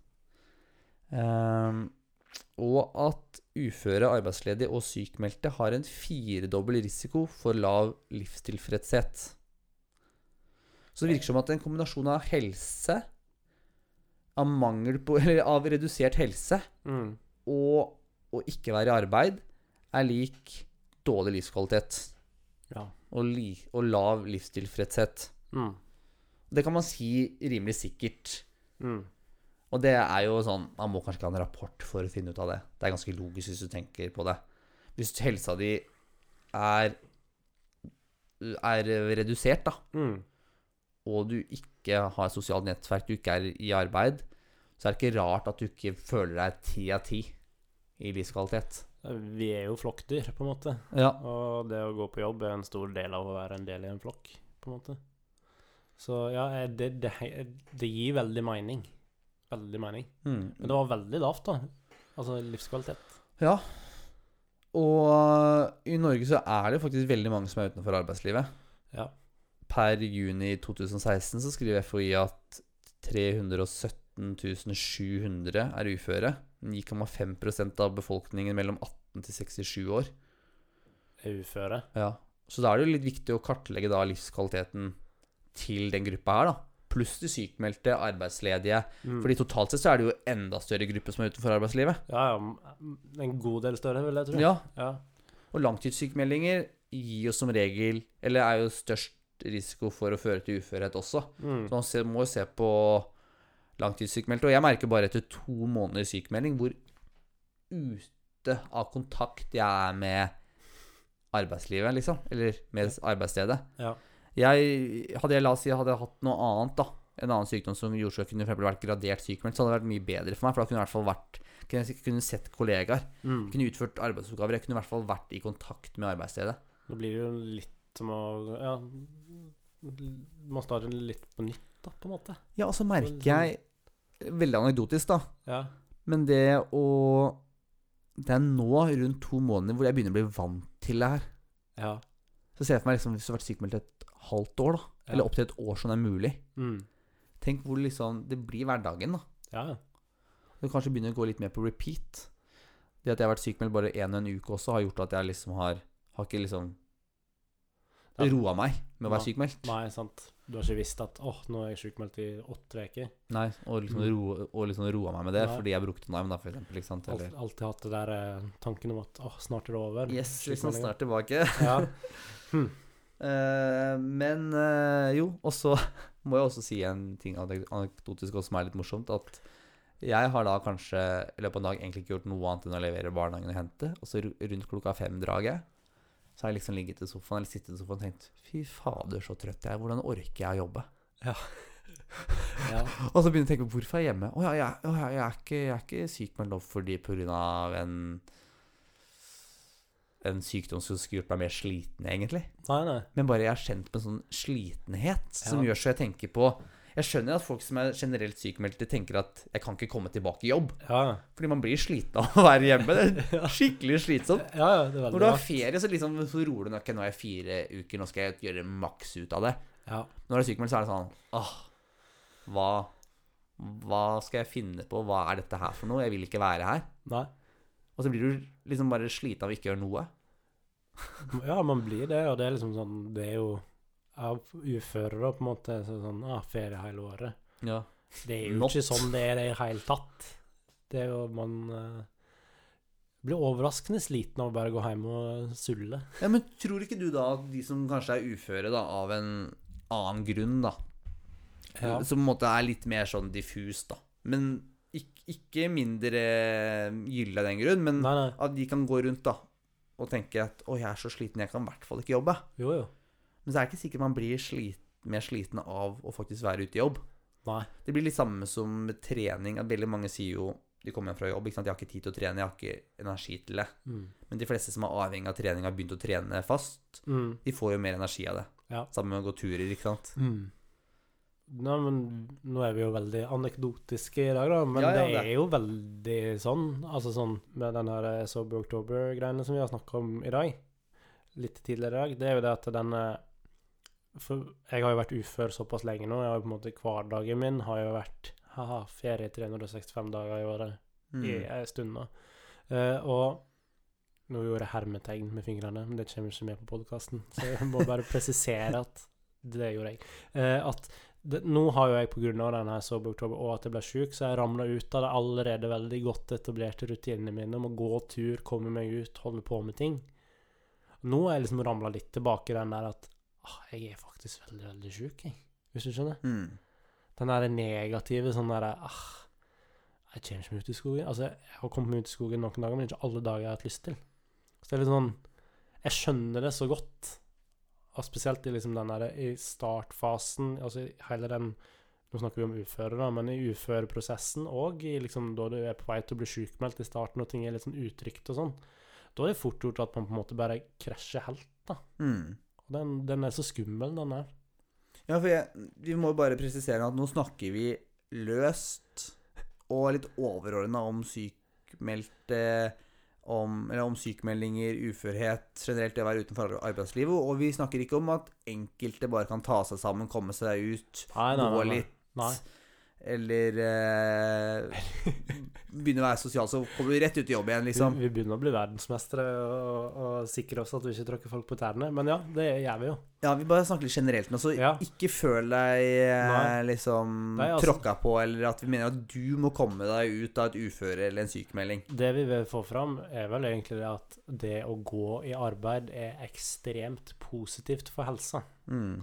S1: Ehm, og at uføre, arbeidsledige og sykmeldte har en firedobbel risiko for lav livstilfredshet. Så det virker som at en kombinasjon av helse, av mangel på Eller av redusert helse
S2: Mm.
S1: og å ikke være i arbeid er lik dårlig livskvalitet
S2: Ja.
S1: og, li, og lav livstilfredshet.
S2: Mm.
S1: Det kan man si rimelig sikkert.
S2: Mm.
S1: Og det er jo sånn Man må kanskje ikke ha en rapport for å finne ut av det. Det er ganske logisk hvis du tenker på det. Hvis helsa di er, er redusert, da,
S2: Mm.
S1: og du ikke har et sosialt nettverk, du ikke er i arbeid, så er det ikke rart at du ikke føler deg ti av ti i livskvalitet.
S2: Vi er jo flokkdyr, på en måte.
S1: Ja.
S2: Og det å gå på jobb er en stor del av å være en del i en flokk, på en måte. Så ja, eh, det, det, det gir veldig mening. Veldig mening.
S1: Hmm.
S2: Men det var veldig lavt, da. Altså livskvalitet.
S1: Og eh, i Norge så er det jo faktisk veldig mange som er utenfor arbeidslivet.
S2: Ja.
S1: Per juni 2016 så skriver FHI at 317 700 er uføre. 9,5 av befolkningen mellom 18 til 67 år.
S2: Er uføre.
S1: Ja. Så da er det jo litt viktig å kartlegge da livskvaliteten til den gruppa her, da. Pluss de sykmeldte, arbeidsledige.
S2: Mm.
S1: Fordi totalt sett så er det jo enda større gruppe som er utenfor arbeidslivet.
S2: Ja, ja. m- En god del større, vil jeg tro.
S1: Ja,
S2: ja.
S1: Og langtidssykmeldinger gir jo som regel Eller er jo størst risiko for å føre til uførhet også.
S2: Mm.
S1: Så man ser, må jo se på langtidssykmeldte. Og jeg merker bare etter to måneder sykemelding hvor ute av kontakt jeg er med arbeidslivet, liksom. Eller med arbeidsstedet.
S2: Ja.
S1: Jeg, hadde jeg, la oss si, hadde jeg hatt noe annet, da. En annen sykdom som gjorde så jeg kunne for eksempel vært gradert sykemeldt, så hadde det vært mye bedre for meg. For da kunne jeg i hvert fall vært Kunne jeg kunne sett kollegaer.
S2: Mm.
S1: Kunne utført arbeidsoppgaver. Jeg kunne i hvert fall vært i kontakt med arbeidsstedet.
S2: Det blir jo litt som å Ja, man starter litt på nytt, da, på en måte.
S1: Ja, og så merker jeg Veldig anekdotisk, da.
S2: Ja.
S1: Men det å Det er nå rundt to måneder hvor jeg begynner å bli vant til det her.
S2: Ja.
S1: Så ser jeg for meg liksom, hvis du har vært sykemeldt et halvt år, da.
S2: Ja.
S1: Eller opptil et år som det er mulig.
S2: Mm.
S1: Tenk hvor liksom Det blir hverdagen, da.
S2: Ja, ja.
S1: Du kanskje begynner å gå litt mer på repeat. Det at jeg har vært sykemeldt bare én og en uke også, har gjort at jeg liksom har Har ikke liksom
S2: Ja.
S1: roa meg med å være
S2: Ja.
S1: sykemeldt.
S2: Nei, sant. Du har ikke visst at 'Å, nå er jeg sjukmeldt i åtte uker'.
S1: Nei, og liksom,
S2: Mm.
S1: roa- og liksom roa meg med det
S2: Nei.
S1: fordi jeg brukte Nime, da, for eksempel. Ikke sant?
S2: Alt,
S1: Eller,
S2: alltid hatt det der eh, tanken om at 'Å, snart er det over'.
S1: yes, liksom
S2: Sykmeldingen.
S1: snart tilbake.
S2: Ja.
S1: Eh, men eh, jo, og så må jeg også si en ting anek- anekdotisk også som er litt morsomt. At jeg har da kanskje i løpet av en dag egentlig ikke gjort noe annet enn å levere barnehagen og hente. Og så ru- rundt klokka fem-draget så har jeg liksom ligget i sofaen eller sittet i sofaen og tenkt fy fader, så trøtt jeg er. Hvordan orker jeg å jobbe?
S2: ja.
S1: Og så begynner jeg å tenke hvorfor er jeg hjemme? Å ja, jeg, å, ja, jeg, er ikke, jeg er ikke sykmeldt nå fordi pga. en en sykdom som skulle gjort meg mer sliten, egentlig.
S2: Nei, nei.
S1: Men bare jeg er kjent med en sånn slitenhet som
S2: Ja.
S1: gjør så jeg tenker på Jeg skjønner at folk som er generelt sykemeldte, tenker at jeg kan ikke komme tilbake i jobb.
S2: Ja, ja.
S1: Fordi man blir sliten av å være hjemme. Det er skikkelig slitsomt.
S2: ja, ja det er veldig
S1: Når du
S2: bra.
S1: har ferie, så, liksom, så roer du nok Nå er jeg fire uker, nå skal jeg gjøre maks ut av det.
S2: Ja.
S1: Når du er sykemeldt, så er det sånn Åh, hva, hva skal jeg finne på? Hva er dette her for noe? Jeg vil ikke være her.
S2: Nei.
S1: Og så blir du liksom bare sliten av å ikke gjøre noe.
S2: Ja, man blir det, og det er liksom sånn Det er jo av uføre, da, på en måte. Så sånn ah, ferie hele året.
S1: Ja.
S2: Det er jo
S1: Not.
S2: ikke sånn det er i det hele tatt. Det er jo Man eh, blir overraskende sliten av å bare gå hjem og sulle.
S1: Ja, men tror ikke du da at de som kanskje er uføre da, av en annen grunn, da,
S2: Ja.
S1: som på en måte er litt mer sånn diffus, da, men ikke, ikke mindre gyldig av den grunn, men
S2: Nei, nei.
S1: at de kan gå rundt da, og tenke at å, jeg er så sliten, jeg kan i hvert fall ikke jobbe.
S2: Jo, jo.
S1: Men så er det ikke sikkert man blir slit, mer sliten av å faktisk være ute i jobb.
S2: Nei.
S1: Det blir litt samme som med trening, at veldig mange sier jo de kommer hjem fra jobb, ikke sant? jeg har ikke tid til å trene, jeg har ikke energi til det.
S2: Mm.
S1: Men de fleste som er avhengig av trening, har begynt å trene fast.
S2: Mm.
S1: De får jo mer energi av det.
S2: Ja.
S1: Sammen med å gå turer, ikke sant.
S2: Mm. Nei, men nå er vi jo veldig anekdotiske i dag, da. Men
S1: Ja, ja,
S2: det
S1: det.
S2: er jo veldig sånn. Altså sånn med den her eh, Sober October-greiene som vi har snakka om i dag, litt tidligere i dag, det er jo det at den eh, For jeg har jo vært ufør såpass lenge nå. Jeg har jo på en måte Hverdagen min har jo vært haha, ferie 365 dager i året i
S1: Mm.
S2: en stund nå. Eh, og nå gjorde jeg hermetegn med fingrene, men det kommer ikke med på podkasten. Så jeg må bare presisere at det gjorde jeg. Eh, at det, nå har jo jeg pga. denne sober oktober og at jeg ble sjuk, så jeg ramla ut av det allerede veldig godt etablerte rutinene mine om å gå tur, komme meg ut, holde på med ting. Nå har jeg liksom ramla litt tilbake i den der at ah, jeg er faktisk veldig, veldig sjuk, jeg. Hvis du skjønner?
S1: Mm.
S2: den der negative sånn der ah, Jeg kommer ikke meg ut i skogen. Altså, jeg har kommet meg ut i skogen noen dager, men ikke alle dager jeg har hatt lyst til. Så det er litt sånn Jeg skjønner det så godt. Og spesielt i liksom den der, i startfasen, altså i hele den Nå snakker vi om uføre, da, men i uføreprosessen og i liksom da du er på vei til å bli sjukmeldt i starten, og ting er litt sånn utrygt og sånn, da er det fort gjort at man på en måte bare krasjer helt.
S1: Mm.
S2: Og den, den er så skummel, den der.
S1: Ja, for jeg, vi må jo bare presisere at nå snakker vi løst og litt overordna om sykmeldte om, eller om sykemeldinger, uførhet, generelt det å være utenfor arbeidslivet. Og vi snakker ikke om at enkelte bare kan ta seg sammen, komme seg ut,
S2: Nei,
S1: gå litt,
S2: Nei.
S1: eller eh, begynner å være sosial, så kommer du rett ut i jobb igjen, liksom.
S2: Vi, vi begynner å bli verdensmestere og, og sikre oss at vi ikke tråkker folk på tærne. Men ja, det gjør vi jo.
S1: Ja, vi bare snakker litt generelt nå, så
S2: Ja.
S1: ikke føl deg eh,
S2: Nei.
S1: liksom
S2: Nei, altså-
S1: tråkka på, eller at vi mener at du må komme deg ut av et uføre eller en sykemelding.
S2: Det vi vil få fram, er vel egentlig det at det å gå i arbeid er ekstremt positivt for helsa.
S1: Mm.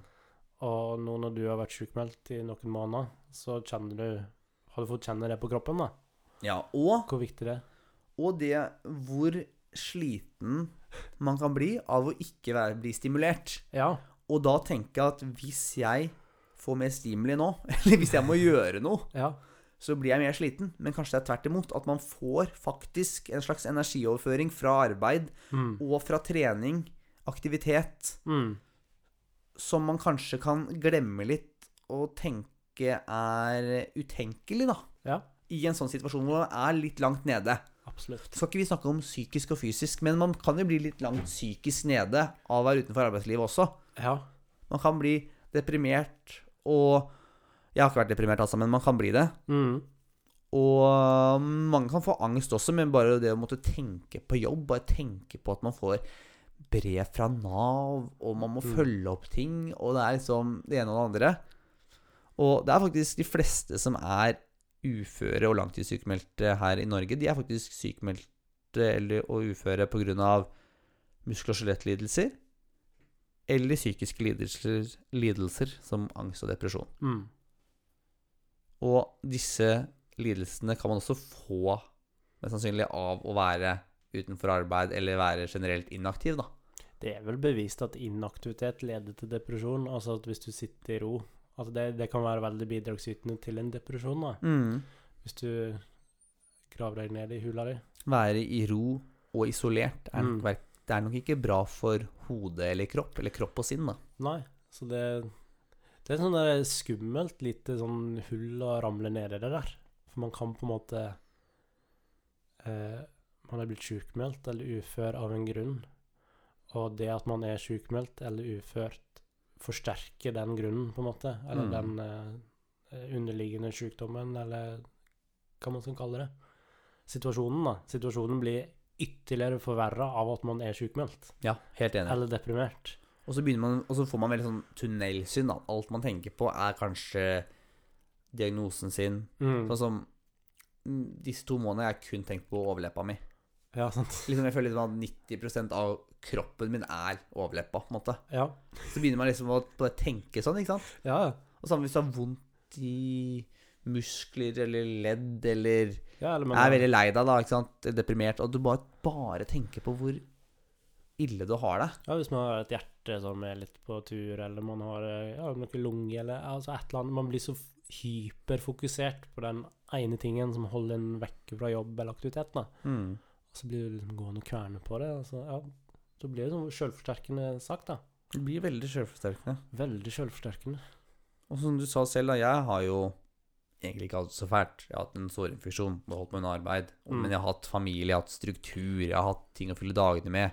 S2: Og nå når du har vært sykemeldt i noen måneder, så kjenner du Har du fått kjenne det på kroppen, da?
S1: Ja, og,
S2: Hvor viktig det er?
S1: og det hvor sliten man kan bli av å ikke være, bli stimulert.
S2: Ja.
S1: Og da tenke at hvis jeg får mer stimuli nå, eller hvis jeg må gjøre noe,
S2: Ja.
S1: så blir jeg mer sliten. Men kanskje det er tvert imot. At man får faktisk en slags energioverføring fra arbeid
S2: Mm.
S1: og fra trening, aktivitet.
S2: Mm.
S1: som man kanskje kan glemme litt og tenke er utenkelig, da.
S2: Ja.
S1: I en sånn situasjon hvor man er litt langt nede.
S2: Absolutt.
S1: Skal ikke vi snakke om psykisk og fysisk, men man kan jo bli litt langt psykisk nede av å være utenfor arbeidslivet også.
S2: Ja.
S1: Man kan bli deprimert og Jeg har ikke vært deprimert, altså, men man kan bli det.
S2: Mm.
S1: Og mange kan få angst også, men bare det å måtte tenke på jobb, bare tenke på at man får brev fra Nav, og man må
S2: Mm.
S1: følge opp ting, og det er liksom det ene og det andre. Og det er faktisk de fleste som er uføre og langtidssykemeldte her i Norge, de er faktisk sykemeldte eller, og uføre pga. muskel- og skjelettlidelser eller psykiske lidelser, lidelser som angst og depresjon.
S2: Mm.
S1: Og disse lidelsene kan man også få, mest sannsynlig, av å være utenfor arbeid eller være generelt inaktiv, da.
S2: Det er vel bevist at inaktivitet leder til depresjon, altså at hvis du sitter i ro Altså det, det kan være veldig bidragsytende til en depresjon, da.
S1: Mm.
S2: Hvis du graver deg ned i hula di.
S1: Være i ro og isolert er
S2: Mm.
S1: nok, verk- det er nok ikke bra for hode eller kropp, eller kropp og sinn, da.
S2: Nei, så det Det er sånn der skummelt lite sånn hull å ramle ned i det der. For man kan på en måte eh, Man er blitt sjukmeldt eller ufør av en grunn. Og det at man er sjukmeldt eller uført, forsterker den grunnen, på en måte. Eller
S1: Mm.
S2: den eh, underliggende sjukdommen, eller hva man skal kalle det. Situasjonen, da. Situasjonen blir ytterligere forverra av at man er sjukmeldt
S1: Ja, helt enig.
S2: eller deprimert.
S1: Og så, begynner man, og så får man veldig sånn tunnelsyn, da. Alt man tenker på, er kanskje diagnosen sin.
S2: Mm.
S1: Sånn som mm, disse to månedene har jeg kun tenkt på overleppa mi.
S2: Ja, sant.
S1: Liksom, jeg føler liksom at 90 av kroppen min er overleppa, på en måte.
S2: Ja.
S1: Så begynner man liksom å bare tenke sånn, ikke sant?
S2: Ja,
S1: Og samme hvis du har vondt i muskler eller ledd eller
S2: ja eller
S1: er veldig lei deg, da, ikke sant? Eller Deprimert. Og du bare, bare tenker på hvor ille du har det.
S2: ja, hvis man har et hjerte som er litt på tur, eller man har eh, ja, noe lunge, eller altså et eller annet Man blir så f- hyperfokusert på den ene tingen som holder en vekk fra jobb eller aktivitet. da. Og så blir du liksom gående og kverne på det. og så, ja, så blir det en sånn sjølforsterkende sak, da.
S1: Det blir veldig sjølforsterkende.
S2: Veldig sjølforsterkende.
S1: Og som du sa selv, da, jeg har jo egentlig ikke hatt det så fælt. Jeg har hatt en sårinfeksjon, det holdt meg under arbeid. Og-
S2: Mm.
S1: Men jeg har hatt familie, jeg har hatt struktur, jeg har hatt ting å fylle dagene med.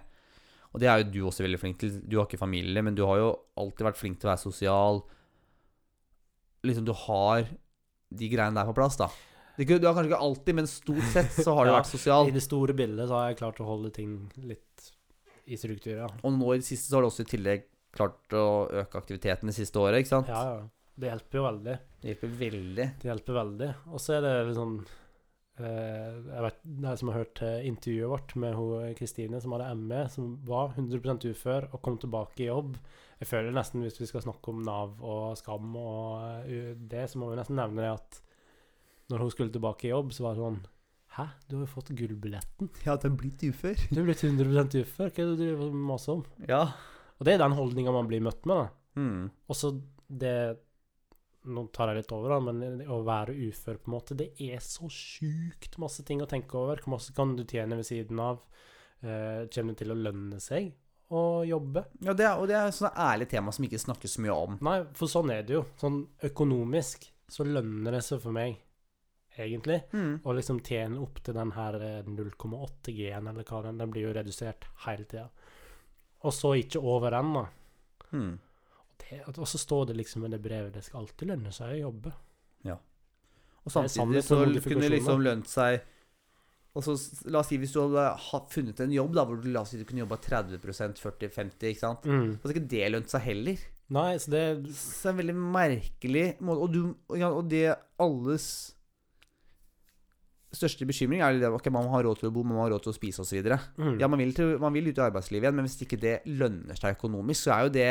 S1: Og det er jo du også veldig flink til. Du har ikke familie, men du har jo alltid vært flink til å være sosial. Liksom, du har de greiene der på plass, da. Det er ikke- Du har kanskje ikke alltid, men stort sett så har du
S2: Ja.
S1: vært sosial.
S2: I det store bildet så har jeg klart å holde ting litt i struktur, ja.
S1: Og nå i det siste så har du også i tillegg klart å øke aktiviteten det siste året, ikke sant?
S2: ja, ja. Det hjelper jo veldig.
S1: Det hjelper veldig.
S2: Det hjelper veldig. Og så er det litt sånn eh, Jeg vet det er som har hørt eh, intervjuet vårt med hun Kristine som hadde ME, som var 100 ufør og kom tilbake i jobb. Jeg føler nesten, hvis vi skal snakke om Nav og skam og eh, u- det, så må vi nesten nevne det at når hun skulle tilbake i jobb, så var det sånn Hæ, du har jo fått gullbilletten.
S1: Ja, den blir ufør.
S2: Du er blitt 100 ufør. Hva er det du driver og maser om?
S1: Ja.
S2: Og det er den holdninga man blir møtt med, da.
S1: Mm.
S2: Også det Nå tar jeg litt over, da, men det å være ufør, på en måte, det er så sjukt masse ting å tenke over. Hvor masse kan du tjene ved siden av? Eh, kommer det til å lønne seg å jobbe?
S1: Ja, det er, og det er sånne ærlige tema som ikke snakkes så mye om.
S2: Nei, for sånn er det jo. Sånn økonomisk så lønner det seg for meg, egentlig, å liksom tjene opp til den her eh, 0,8 G-en, eller hva den Den blir jo redusert hele tida. Og så ikke over den, da.
S1: Mm.
S2: Det, og så står det liksom i det brevet det skal alltid lønne seg å jobbe.
S1: Og
S2: er
S1: samtidig
S2: sannhet
S1: så
S2: med
S1: kunne det
S2: modifikasjoner.
S1: liksom lønt seg og så, s- La oss si hvis du hadde ha- funnet en jobb da, hvor du la oss si du kunne jobba 30 40-50 ikke sant?
S2: Mm.
S1: Så hadde ikke det lønt seg heller.
S2: Nei, så det
S1: Så det er en veldig merkelig måte Og, du, ja, og det alles største bekymring er jo det at ok, man må ha råd til å bo, man må ha råd til å spise osv.
S2: mm.
S1: Ja, man vil, til, man vil ut i arbeidslivet igjen, men hvis ikke det lønner seg økonomisk, så er jo det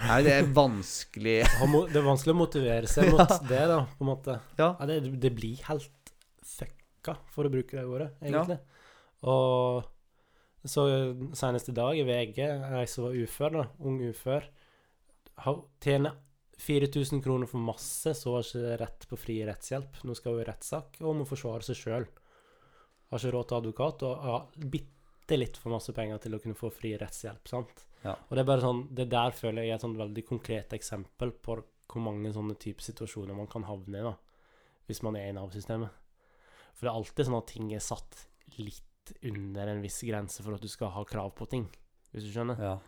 S1: er jo det vanskelig
S2: Ha mo- Det er vanskelig å motivere seg mot det, da, på en måte.
S1: Ja.
S2: det, det blir helt fucka, for å bruke det ordet, egentlig. Og så senest i dag i VG, ei som var ufør, da, ung ufør, har- tjener 4000 kroner for masse, så har ikke rett på fri rettshjelp. Nå skal hun i rettssak og må forsvare seg sjøl. Har ikke råd til advokat og har bitte litt for masse penger til å kunne få fri rettshjelp. sant?
S1: Ja.
S2: Og det er bare sånn, det der føler jeg er et sånn veldig konkret eksempel på hvor mange sånne type situasjoner man kan havne i da, hvis man er i Nav-systemet. For det er alltid sånn at ting er satt litt under en viss grense for at du skal ha krav på ting, hvis du skjønner.
S1: Ja.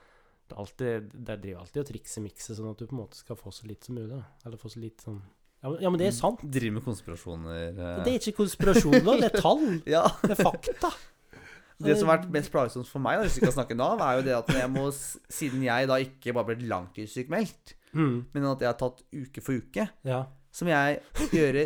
S2: Det er alltid, de driver alltid og trikser mikset, sånn at du på en måte skal få så lite som mulig. Da. Eller få så lite sånn ja, men- ja, men det er sant.
S1: Driver med konspirasjoner. eh.
S2: Det er ikke konspirasjoner, det er tall.
S1: Ja.
S2: Det er fakta.
S1: Det som har vært mest plagsomt for meg, da, hvis vi skal snakke Nav, er jo det at jeg må, s- siden jeg da ikke bare ble langtidssykmeldt,
S2: Mm,
S1: men at jeg har tatt uke for uke,
S2: ja.
S1: så må jeg gjøre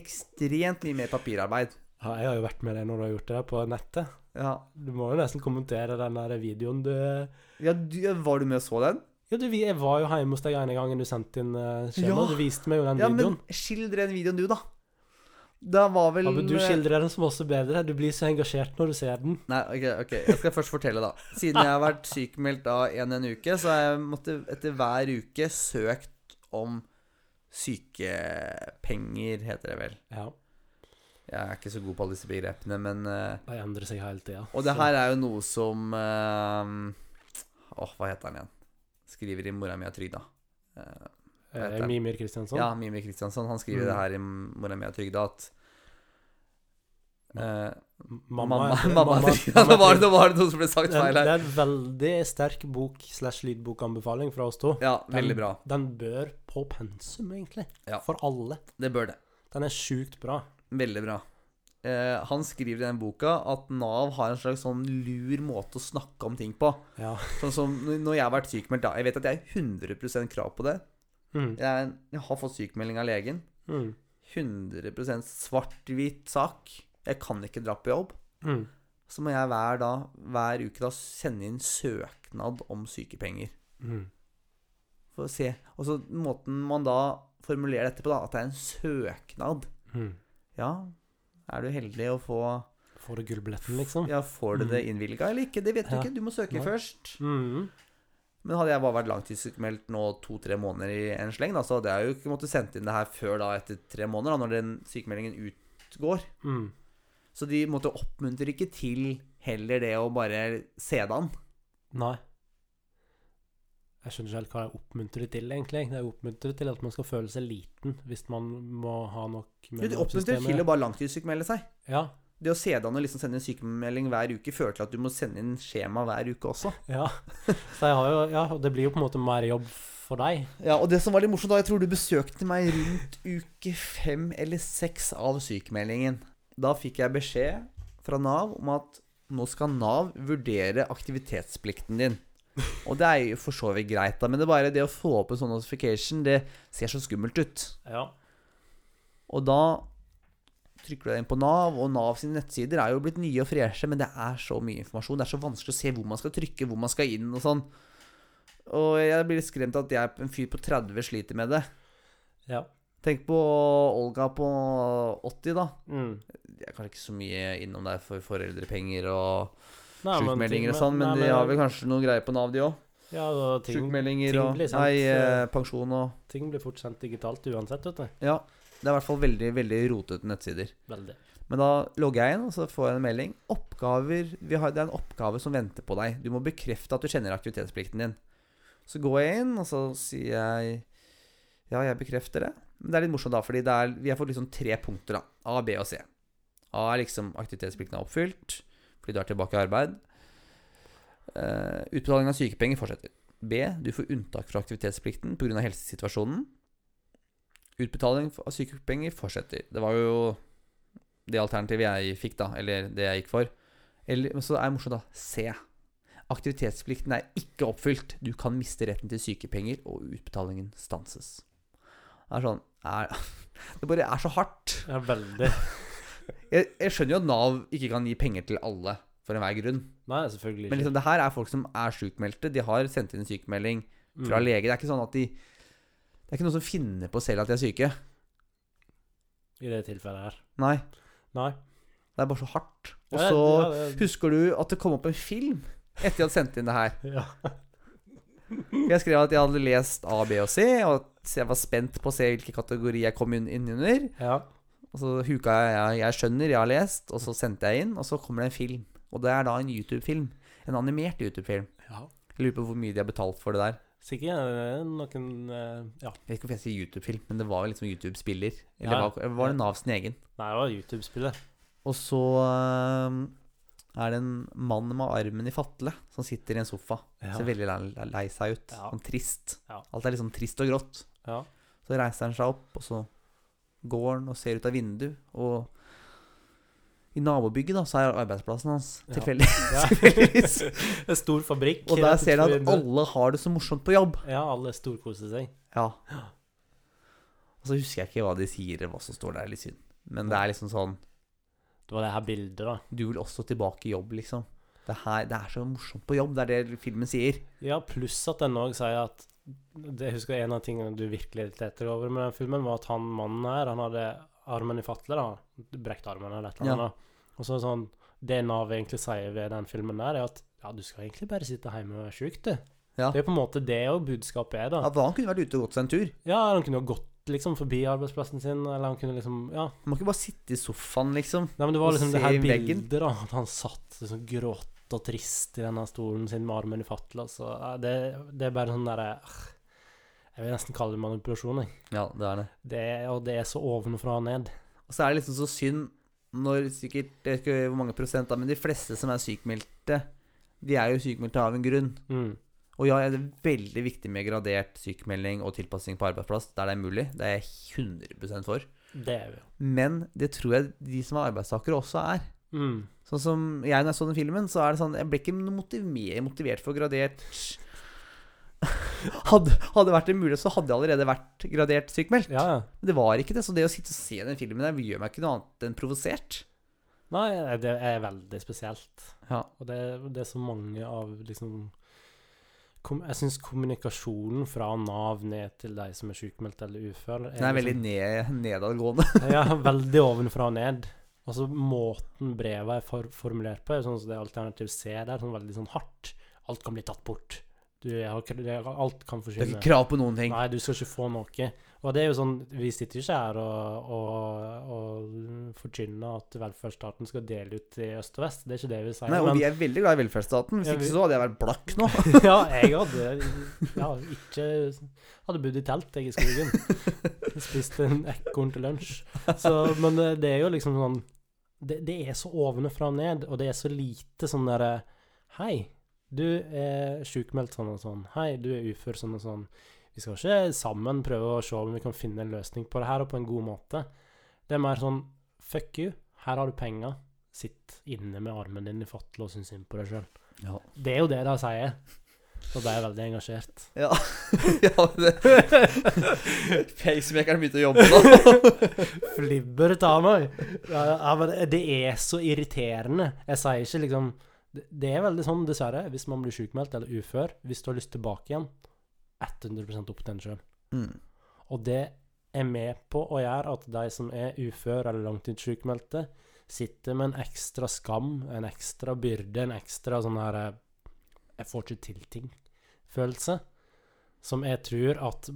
S1: ekstremt mye mer papirarbeid.
S2: ja. Jeg har jo vært med deg når du har gjort det der på nettet.
S1: Ja,
S2: Du må jo nesten kommentere den der videoen du
S1: ja du, Var du med og så den?
S2: Ja, du, vi- jeg var jo hjemme hos deg ene gangen du sendte inn eh, skjema.
S1: Ja.
S2: Du viste meg jo den
S1: Ja, men
S2: videoen.
S1: skildre den videoen du, da. Da var vel eh,
S2: Ja, men du skildrer den som også bedre. Du blir så engasjert når du ser den.
S1: Nei, ok, ok, jeg skal først fortelle, da. Siden jeg har vært sykmeldt da en en uke, så har jeg måtte etter hver uke søkt om sykepenger, heter det vel.
S2: Ja,
S1: Jeg er ikke så god på alle disse begrepene, men eh,
S2: De endrer seg hele tida.
S1: Og det her er jo noe som eh, Åh, hva heter han igjen? Skriver i Mora mi er trygda. Eh,
S2: er Mimir Kristiansson?
S1: Ja, Mimir Kristiansson. Han skriver
S2: Mm.
S1: det her i Mora mi er trygda at eh,
S2: M-
S1: Mamma,
S2: heter det.
S1: mamma,
S2: Mamma-
S1: mamma, ja,
S2: mamma
S1: nå var det,
S2: heter
S1: nå var det noe som ble sagt
S2: det.
S1: feil
S2: Det
S1: her.
S2: er en veldig sterk bok slash lydbokanbefaling fra oss to.
S1: Ja,
S2: Den-
S1: veldig bra.
S2: Den bør på pensum, egentlig.
S1: Ja.
S2: For alle.
S1: Det bør det.
S2: Den er sjukt bra.
S1: Veldig bra. Eh, han skriver i den boka at Nav har en slags sånn lur måte å snakke om ting på.
S2: Ja.
S1: Sånn som når jeg har vært sykemeldt da. Jeg vet at jeg har 100 krav på det.
S2: Mm.
S1: Jeg, er- jeg har fått sykemelding av legen.
S2: Mm.
S1: 100 svart-hvit sak. Jeg kan ikke dra på jobb.
S2: Mm.
S1: Så må jeg hver, da, hver uke da sende inn søknad om sykepenger.
S2: Mm.
S1: For å se. Og så måten man da formulerer dette på, da, at det er en søknad.
S2: Mm.
S1: Ja, er du heldig å få
S2: Får du gullbilletten, liksom?
S1: Ja, får du det
S2: Mm.
S1: innvilga eller ikke? Det vet du
S2: Ja.
S1: ikke. Du må søke
S2: Nei.
S1: først.
S2: Mm.
S1: Men hadde jeg bare vært langtidssykemeldt nå to-tre måneder i en sleng, da, så hadde jeg jo ikke måttet sendt inn det her før da etter tre måneder, da, når den sykemeldingen utgår.
S2: Mm.
S1: Så de måtte oppmuntre ikke til heller det å bare se det an.
S2: Nei. Jeg skjønner ikke helt hva jeg oppmuntrer til, egentlig. Jeg oppmuntrer til at man skal føle seg liten hvis man må ha nok
S1: Jo, de oppmuntrer til å bare langtidssykmelde seg.
S2: Ja.
S1: Det å se det an og liksom sende en sykemelding hver uke fører til at du må sende inn skjema hver uke også.
S2: ja. Så jeg har jo Ja, og det blir jo på en måte mer jobb for deg.
S1: Ja, og det som var litt morsomt da, jeg tror du besøkte meg rundt uke fem eller seks av sykemeldingen. Da fikk jeg beskjed fra Nav om at nå skal Nav vurdere aktivitetsplikten din. Og det er jo for så vidt greit, da, men det er bare det å få opp en sånn notification, det ser så skummelt ut.
S2: Ja.
S1: Og da trykker du deg inn på Nav, og Nav sine nettsider er jo blitt nye og freshe, men det er så mye informasjon. Det er så vanskelig å se hvor man skal trykke, hvor man skal inn og sånn. Og jeg blir litt skremt at jeg, en fyr på 30, sliter med det.
S2: Ja.
S1: Tenk på Olga på 80, da.
S2: Mm.
S1: Det er kanskje ikke så mye innom der for foreldrepenger og
S2: Nei, men-
S1: sjukmeldinger og sånn, men,
S2: nei,
S1: de har vel kanskje noe greier på Nav, de òg.
S2: Ja, og ting,
S1: Sjukmeldinger
S2: ting
S1: og
S2: blir sendt,
S1: Nei, eh,
S2: eh,
S1: pensjon og
S2: ting blir fort sendt digitalt uansett, vet du.
S1: Ja. Det er i hvert fall veldig, veldig rotete nettsider.
S2: Veldig.
S1: Men da logger jeg inn, og så får jeg en melding. Oppgaver, vi har, Det er en oppgave som venter på deg. Du må bekrefte at du kjenner aktivitetsplikten din. Så går jeg inn, og så sier jeg Ja, jeg bekrefter det. Men det er litt morsomt, da, fordi det er, vi har fått liksom tre punkter. da, A, B og C. A er liksom aktivitetsplikten er oppfylt fordi du er tilbake i arbeid. Eh, utbetaling av sykepenger fortsetter. B. Du får unntak fra aktivitetsplikten pga. helsesituasjonen. Utbetaling av sykepenger fortsetter. Det var jo det alternativet jeg fikk, da. Eller det jeg gikk for. Eller, men så er det morsomt, da. Se. Aktivitetsplikten er ikke oppfylt. Du kan miste retten til sykepenger, og utbetalingen stanses. Det er sånn er, Det bare er så hardt.
S2: Ja, veldig.
S1: Jeg, jeg skjønner jo at Nav ikke kan gi penger til alle for enhver grunn.
S2: Nei, selvfølgelig
S1: Men
S2: ikke.
S1: liksom, det her er folk som er sykmeldte. De har sendt inn en sykemelding fra
S2: Mm.
S1: lege. Det er ikke sånn at de Det er ikke noen som finner på selv at de er syke.
S2: I det tilfellet her.
S1: Nei.
S2: Nei.
S1: Det er bare så hardt. Og
S2: Ja,
S1: så
S2: ja, det-
S1: husker du at det kom opp en film etter jeg hadde sendt inn det her.
S2: ja.
S1: Jeg skrev at jeg hadde lest A, B og C, og at jeg var spent på å se hvilken kategori jeg kom inn inn under.
S2: ja.
S1: Og så huka jeg, jeg 'Jeg skjønner, jeg har lest', og så sendte jeg inn, og så kommer det en film. Og det er da en YouTube-film. En animert YouTube-film.
S2: ja.
S1: Jeg lurer på hvor mye de har betalt for det der.
S2: Sikkert eh, noen eh, Ja.
S1: Jeg vet ikke om jeg sier YouTube-film, men det var vel liksom YouTube-spiller. Eller
S2: Ja.
S1: var, var det Nav sin egen?
S2: Nei, det var YouTube-spillet.
S1: Og så øhm, er det en mann med armen i fatle som sitter i en sofa.
S2: Ja.
S1: Ser veldig lei, lei seg ut.
S2: Ja.
S1: Sånn trist.
S2: Ja.
S1: Alt er liksom trist og grått.
S2: Ja.
S1: Så reiser han seg opp, og så går han og ser ut av vinduet, og i nabobygget da, så er arbeidsplassen hans
S2: Ja.
S1: tilfeldig.
S2: Ja.
S1: Tilfeldigvis.
S2: en stor fabrikk.
S1: Og der
S2: rett
S1: ser han
S2: utenfor
S1: at
S2: vinduet.
S1: alle har det så morsomt på jobb.
S2: Ja, alle storkoser seg.
S1: Ja. Og så husker jeg ikke hva de sier, eller hva som står der. Litt synd. Men det er liksom sånn
S2: Det var det her bildet, da.
S1: Du vil også tilbake i jobb, liksom. Det, her, det er så morsomt på jobb. Det er det filmen sier.
S2: Ja, pluss at den òg sier at det- Jeg husker en av tingene du virkelig irriterte deg over med den filmen, var at han mannen her, han hadde armen i fatle, da. Brekt armen eller et eller annet. Og så sånn Det Nav egentlig sier ved den filmen der, er at ja, du skal egentlig bare sitte hjemme og være sjuk, du.
S1: Ja.
S2: Det er på en måte det òg budskapet er, da.
S1: At han kunne vært ute og gått seg en tur.
S2: Ja, han kunne jo gått liksom forbi arbeidsplassen sin, eller han kunne liksom Ja.
S1: Man må ikke bare sitte i sofaen, liksom.
S2: Nei, men det var
S1: Og
S2: liksom
S1: se
S2: det her
S1: i veggen.
S2: bildet, da. At han satt liksom grått og trist i denne stolen sin med armen i fatle. Altså. Ja, Det, det er bare sånn derre ah, Jeg vil nesten kalle det manipulasjon, jeg.
S1: Ja, det er det.
S2: Det, er- og det er så ovenfra og ned.
S1: Og så er det liksom så synd når sikkert Jeg vet ikke hvor mange prosent, da, men de fleste som er sykmeldte, de er jo sykmeldte av en grunn.
S2: Mm.
S1: Og ja, det er veldig viktig med gradert sykemelding og tilpassing på arbeidsplass der det er mulig. Det er jeg 100 for.
S2: Det er vi jo.
S1: Men det tror jeg de som er arbeidstakere også er.
S2: Mm.
S1: Sånn som jeg når jeg så den filmen, så er det sånn Jeg ble ikke noe motiv- mer motivert for gradert hadde, hadde vært det mulig, så hadde jeg allerede vært gradert sykmeldt.
S2: Ja, ja.
S1: Men det var ikke det. Så det å sitte og se den filmen der gjør meg ikke noe annet enn provosert.
S2: Nei, det er veldig spesielt.
S1: Ja.
S2: Og det, det er så mange av liksom kom, Jeg syns kommunikasjonen fra Nav ned til de som er sykmeldt eller ufør liksom
S1: Den er veldig ned, nedadgående.
S2: Ja, veldig ovenfra og ned. Og så måten brevet er for formulert på, er sånn som det alternativ C der, sånn veldig sånn hardt. Alt kan bli tatt bort. Du jeg har, ikke- det- alt kan
S1: Du har
S2: forsvinne.
S1: ikke krav på noen ting.
S2: Nei, du skal ikke få noe. Og det er jo sånn, vi sitter jo ikke her og, og, og forkynner at velferdsstaten skal dele ut i øst og vest. Det er ikke det vi sier.
S1: Nei, og
S2: men-
S1: vi er veldig glad i velferdsstaten. Hvis
S2: Ja,
S1: ikke
S2: vi-
S1: så hadde jeg vært blakk nå.
S2: ja, jeg hadde ja, ikke hadde bodd i telt, jeg, i skogen. Spist en ekorn til lunsj. Så, men eh, det er jo liksom sånn Det, det er så ovenfra og ned, og det er så lite sånn derre Hei, du er sjukmeldt sånn og sånn. Hei, du er ufør sånn og sånn. Vi skal ikke sammen prøve å se om vi kan finne en løsning på det her, og på en god måte. Det er mer sånn Fuck you, her har du penger. Sitt inne med armen din i fatle og syns synd på deg sjøl.
S1: Ja.
S2: Det er jo det de sier. Og de er veldig engasjert.
S1: Ja, ja det. Pacemakeren begynte å jobbe nå.
S2: Flibber ta meg! Ja, ja, men det er så irriterende. Jeg sier ikke liksom Det det er veldig sånn, dessverre, hvis man blir sjukmeldt eller ufør, hvis du har lyst tilbake igjen 100 opp til en sjøl.
S1: Mm.
S2: Og det er med på å gjøre at de som er ufør eller langtidssjukmeldte, sitter med en ekstra skam, en ekstra byrde, en ekstra sånn her eh, Jeg får ikke til ting-følelse. Som jeg tror at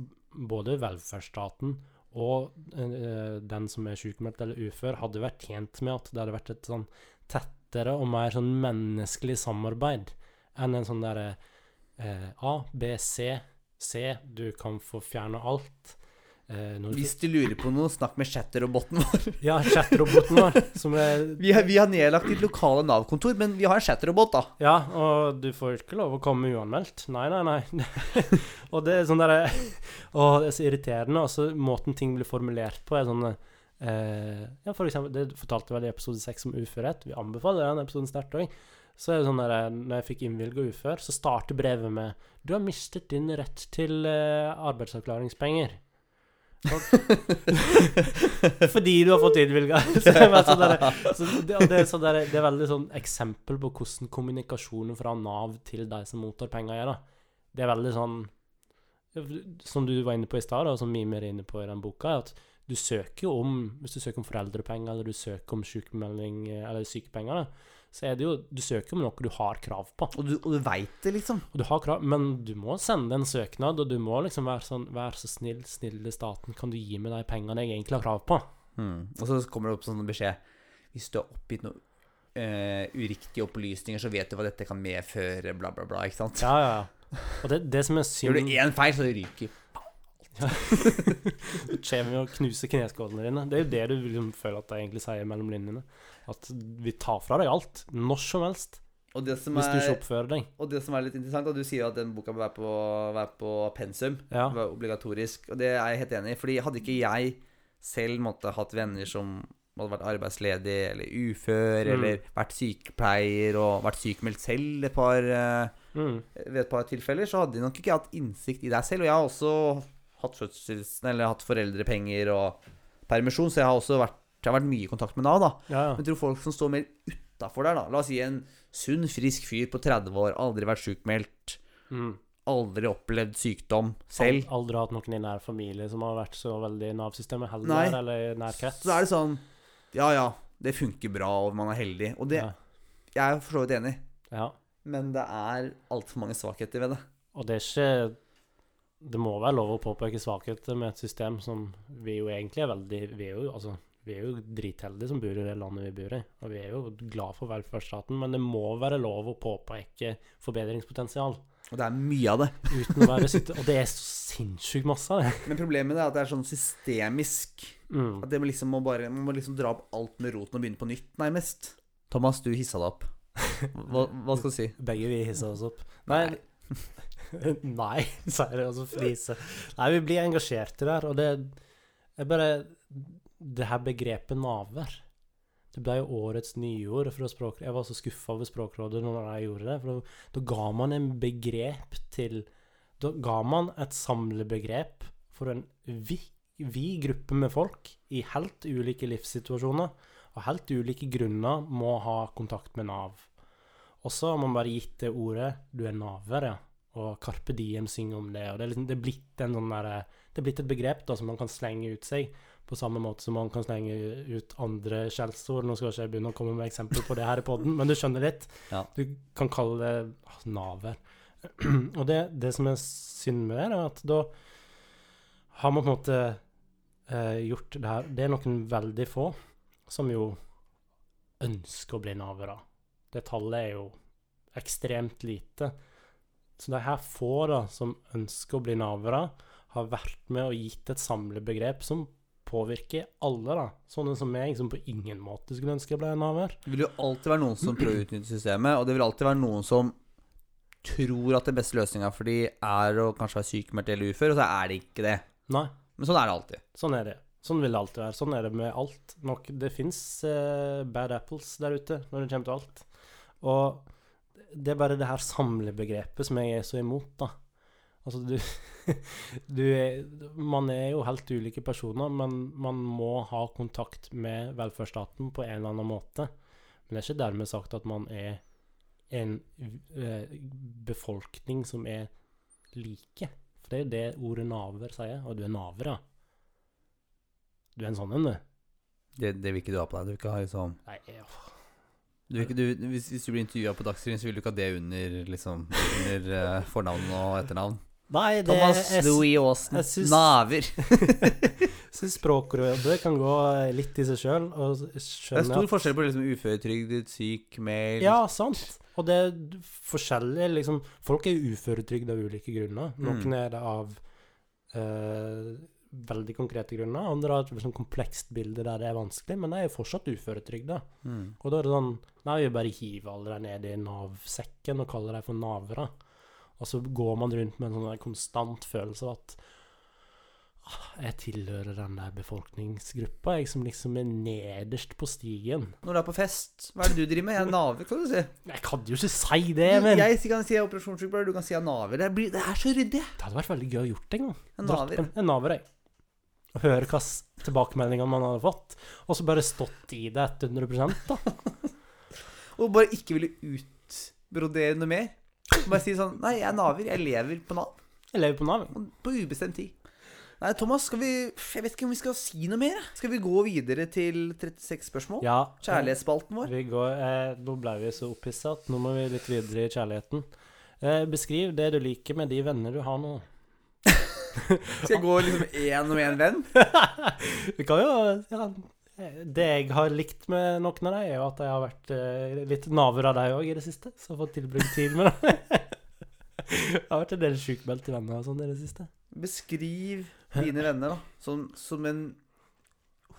S2: både velferdsstaten og eh, den som er sjukmeldt eller ufør, hadde vært tjent med at det hadde vært et sånn tettere og mer sånn menneskelig samarbeid enn en sånn derre eh, A, B, C, C, du kan få fjerne alt. Eh, eh, når-
S1: Hvis du lurer på noe, snakk med chatteroboten vår.
S2: Ja, chatroboten vår, som er
S1: Vi har, vi har nedlagt ditt lokale Nav-kontor, men vi har en chatterobot, da.
S2: Ja, og du får ikke lov å komme uanmeldt. Nei, nei, nei. og det er sånn derre Å, det er så irriterende. Og så måten ting blir formulert på, er sånn eh, Ja, for eksempel, det fortalte vel i episode seks om uførhet. Vi anbefaler den episoden sterkt òg. Så er det sånn der, eh, når jeg fikk innvilga ufør, så starter brevet med 'Du har mistet din rett til eh, arbeidsavklaringspenger'. Og- Fordi du har fått innvilga. Så det var sånn derre så det, og det, er sånn der, det er veldig sånn eksempel på hvordan kommunikasjonen fra Nav til de som mottar penger, er. da. Det er veldig sånn Som du var inne på i stad, og som Mime er inne på i den boka, er at du søker jo om Hvis du søker om foreldrepenger, eller du søker om sykemelding, eh, eller sykepenger, da, så er det jo Du søker om noe du har krav på.
S1: Og du, og du veit det, liksom.
S2: Og du har krav, men du må sende en søknad, og du må liksom være sånn Vær så snill, snille staten, kan du gi meg de pengene jeg egentlig har krav på? Hmm.
S1: Mm. Og så kommer det opp sånn beskjed Hvis du har oppgitt noen eh, uriktige opplysninger, så vet du hva dette kan medføre, bla, bla, bla. Ikke sant?
S2: Ja, ja, ja. Og det, det som er synd
S1: Gjør du én feil, så ryker
S2: Du kommer jo og knuser kneskålene dine. Det er jo det du liksom føler at jeg egentlig sier mellom linjene. At vi tar fra deg alt, når som helst,
S1: og det, som
S2: hvis du ikke
S1: er,
S2: oppfører deg.
S1: og det som er litt interessant, er at du sier at den boka bør være på, være på pensum.
S2: Ja.
S1: Det var obligatorisk, og det er jeg helt enig i. Fordi hadde ikke jeg selv måtte hatt venner som hadde vært arbeidsledig eller ufør,
S2: Mm.
S1: eller vært sykepleier og vært sykemeldt selv et par, eh,
S2: Mm.
S1: ved et par tilfeller, så hadde jeg nok ikke hatt innsikt i deg selv. Og jeg har også hatt, fødsels, eller hatt foreldrepenger og permisjon, så jeg har også vært, jeg har vært mye i kontakt med Nav. da.
S2: Ja,
S1: Men
S2: ja.
S1: jeg tror folk som står mer utafor der, da. La oss si en sunn, frisk fyr på 30 år, aldri vært sjukmeldt,
S2: Mm.
S1: aldri opplevd sykdom selv.
S2: Ald- Aldri hatt noen i nær familie som har vært så veldig i Nav-systemet heller,
S1: Nei.
S2: eller i nær krets.
S1: Så er det sånn Ja, ja, det funker bra, og man er heldig. Og det,
S2: Ja.
S1: jeg er for så vidt enig,
S2: ja.
S1: men det er altfor mange svakheter ved det.
S2: Og det er ikke Det må være lov å påpeke svakheter med et system som vi jo egentlig er veldig Vi er jo, altså, vi er jo dritheldige som bor i det landet vi bor i. Og vi er jo glad for velferdsstaten, men det må være lov å påpeke forbedringspotensial.
S1: Og det er mye av det.
S2: Uten å være sitte, Og det er så sinnssykt masse av det.
S1: Men problemet er at det er sånn systemisk.
S2: Mm.
S1: At det liksom må bare, man må liksom dra opp alt med roten og begynne på nytt, nærmest. Thomas, du hissa deg opp. Hva, hva skal du si?
S2: Begge vi hisser oss opp. Nei. Nei, sier jeg og så fniser. Nei, vi blir engasjerte der, og det er bare Det her begrepet naver. Det ble jo årets nyord fra språk... Jeg var så skuffa over Språkrådet når jeg gjorde det, for da, da ga man en begrep til Da ga man et samlebegrep for en vid vi gruppe med folk i helt ulike livssituasjoner og helt ulike grunner må ha kontakt med Nav. Og så har man bare gitt det ordet 'du er naver', ja. Og Carpe Diem synger om det. Og det er, liksom, det er blitt en sånn derre- Det er blitt et begrep da, som man kan slenge ut seg, på samme måte som man kan slenge ut andre skjellsord. Nå skal ikke jeg begynne å komme med eksempler på det her i poden, men du skjønner litt.
S1: Ja.
S2: Du kan kalle det ah, naver. Og det, det som er synd med det, er at da har man på en måte eh, gjort det her Det er noen veldig få som jo ønsker å bli navere. Det tallet er jo ekstremt lite. Så de her få da, som ønsker å bli navere, har vært med og gitt et samlebegrep som påvirker alle, da. Sånne som meg, som på ingen måte skulle ønske jeg ble naver.
S1: Det vil jo alltid være noen som prøver å utnytte systemet, og det vil alltid være noen som tror at den beste løsninga for de er å kanskje være sykemeldt eller ufør, og så er det ikke det.
S2: Nei.
S1: Men sånn er det alltid.
S2: Sånn er det. Sånn vil det alltid være. Sånn er det med alt. Nok, det fins eh, bad apples der ute når det kommer til alt. Og det er bare det her samlebegrepet som jeg er så imot, da. Altså, du, du er, Man er jo helt ulike personer, men man må ha kontakt med velferdsstaten på en eller annen måte. Men det er ikke dermed sagt at man er en eh, befolkning som er like. For det er jo det ordet naver sier, og du er naver, ja. Du er en sånn en, du.
S1: Det, det vil ikke du ha på deg. Du vil ikke ha liksom
S2: Nei, åh.
S1: du vil ikke, du, hvis, hvis du blir intervjua på Dagsrevyen, så vil du ikke ha det under liksom Under eh, fornavn og etternavn.
S2: Nei det
S1: Thomas
S2: jeg,
S1: Louis Aasen.
S2: jeg syns-
S1: Naver.
S2: jeg syns Språkrådet kan gå litt i seg sjøl, og
S1: Det er
S2: skjønne
S1: stor forskjell på liksom uføretrygdet, syk, meld
S2: Ja, sant. Og det er forskjellig, liksom. Folk er jo uføretrygd av ulike grunner. Noen
S1: Mm.
S2: er det av eh, veldig konkrete grunner. Andre har et sånn komplekst bilde der det er vanskelig, men de er jo fortsatt uføretrygda.
S1: Mm.
S2: Og da er det sånn Nei, vi bare hiver alle de ned i Nav-sekken og kaller dem for navere. Og så går man rundt med en sånn der konstant følelse av at «Ah, jeg tilhører den der befolkningsgruppa, jeg som liksom er nederst på stigen.
S1: Når du er på fest, hva er det du driver med? Jeg er naver, kan du si.
S2: Jeg kan jo ikke si det, men
S1: Jeg kan si jeg er operasjonssykepleier, du kan si jeg er naver. Det, blir, det er så ryddig.
S2: Det hadde vært veldig gøy å gjort det en gang.
S1: Jeg er
S2: Dratt
S1: naver.
S2: En, en naver, jeg. Og høre hva s- tilbakemeldingene man hadde fått, og så bare stått i det 100 da.
S1: Og bare ikke ville utbrodere noe mer. Bare si sånn Nei, jeg er naver. Jeg lever på Nav.
S2: Jeg lever på Nav. jeg.
S1: På ubestemt tid. Nei, Thomas, skal vi Jeg vet ikke om vi skal si noe mer. jeg. Skal vi gå videre til 36 spørsmål?
S2: Ja.
S1: Kjærlighetsspalten vår.
S2: Vi går, eh, nå ble vi så opphissa at nå må vi litt videre i kjærligheten. Eh, beskriv det du liker med de venner du har nå.
S1: Skal jeg gå liksom én og én venn?
S2: Vi kan jo ja, Det jeg har likt med noen av dem, er jo at jeg har vært eh, litt naver av dem òg i det siste. Så jeg har fått tilbrukt tid med dem. Jeg har vært en del sjukmeldte venner og sånn i det siste.
S1: Beskriv dine venner da som, som en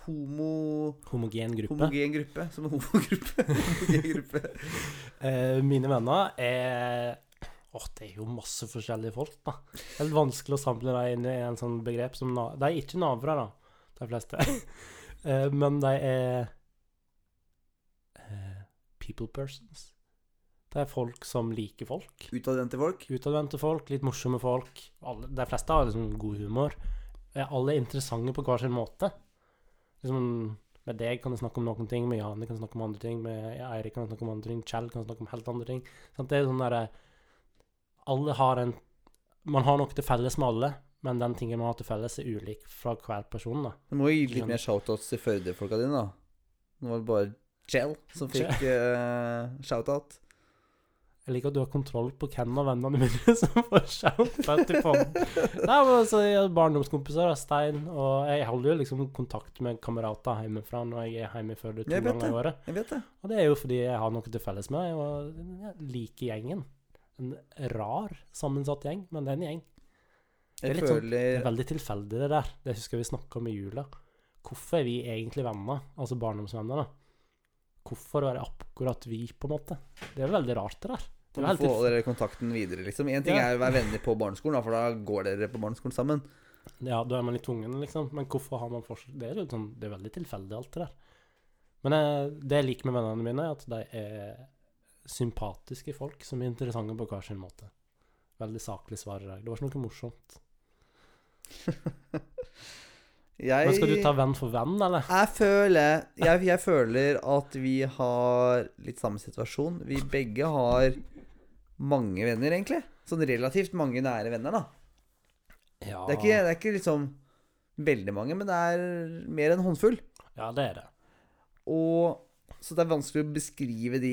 S1: homo...
S2: Homogen gruppe.
S1: Homogen gruppe. Som en homogruppe. Homogen gruppe.
S2: Eh, mine venner er Åh, det er jo masse forskjellige folk, da. Det er litt vanskelig å samle dem inn i en sånn begrep som na De er ikke navere, da, de fleste. eh, men de er eh, people persons. Det er folk som liker folk.
S1: Utadvendte folk.
S2: Utadvendte folk, litt morsomme folk. Alle, de fleste har liksom god humor. Eh, alle er interessante på hver sin måte. Liksom, med deg kan jeg snakke om noen ting, med Jane kan jeg snakke om andre ting, med Eirik kan jeg snakke om andre ting, Kjell kan jeg snakke om helt andre ting. Sant? Det er sånn derre Alle har en Man har noe til felles med alle, men den tingen man har til felles, er ulik fra hver person, da.
S1: Du må gi litt mer shoutouts til Førde-folka dine, da. Nå var det bare Jell som fikk eh, shoutout.
S2: Jeg liker at du har kontroll på hvem av vennene mine som får shout-out til podden. Nei, men altså, jeg har barndomskompiser, da, Stein, og jeg holder jo liksom kontakt med kamerater hjemmefra når jeg er hjemme i Førde to
S1: Jeg vet
S2: ganger i året.
S1: Jeg vet det.
S2: Og det er jo fordi jeg har noe til felles med deg, og jeg liker gjengen. En rar sammensatt gjeng, men det er en gjeng. Det er
S1: Jeg
S2: litt sånn- Det er
S1: føler
S2: veldig tilfeldig, det der. Det husker jeg vi snakka om i jula. Hvorfor er vi egentlig venner, altså barndomsvenner, da? Hvorfor er det akkurat vi, på en måte? Det er veldig rart, det der. Det er
S1: Må
S2: veldig
S1: få dere kontakten videre, liksom. Én ting
S2: Ja.
S1: er å være venner på barneskolen, da, for da går dere på barneskolen sammen.
S2: Ja, da er man litt tvungen, liksom. Men hvorfor har man forskjell? Det er jo sånn, det er veldig tilfeldig, alt det der. Men eh, det jeg liker med vennene mine, er at de er sympatiske folk som er interessante på hver sin måte. Veldig saklig svar i dag. Det var ikke noe morsomt.
S1: Jeg
S2: Men skal du ta venn for venn, eller?
S1: Jeg føler, jeg, jeg føler at vi har litt samme situasjon. Vi begge har mange venner, egentlig. Sånn relativt mange nære venner, da.
S2: Ja,
S1: Det er ikke, det er ikke liksom veldig mange, men det er mer enn håndfull.
S2: ja, det er det.
S1: Og Så det er vanskelig å beskrive de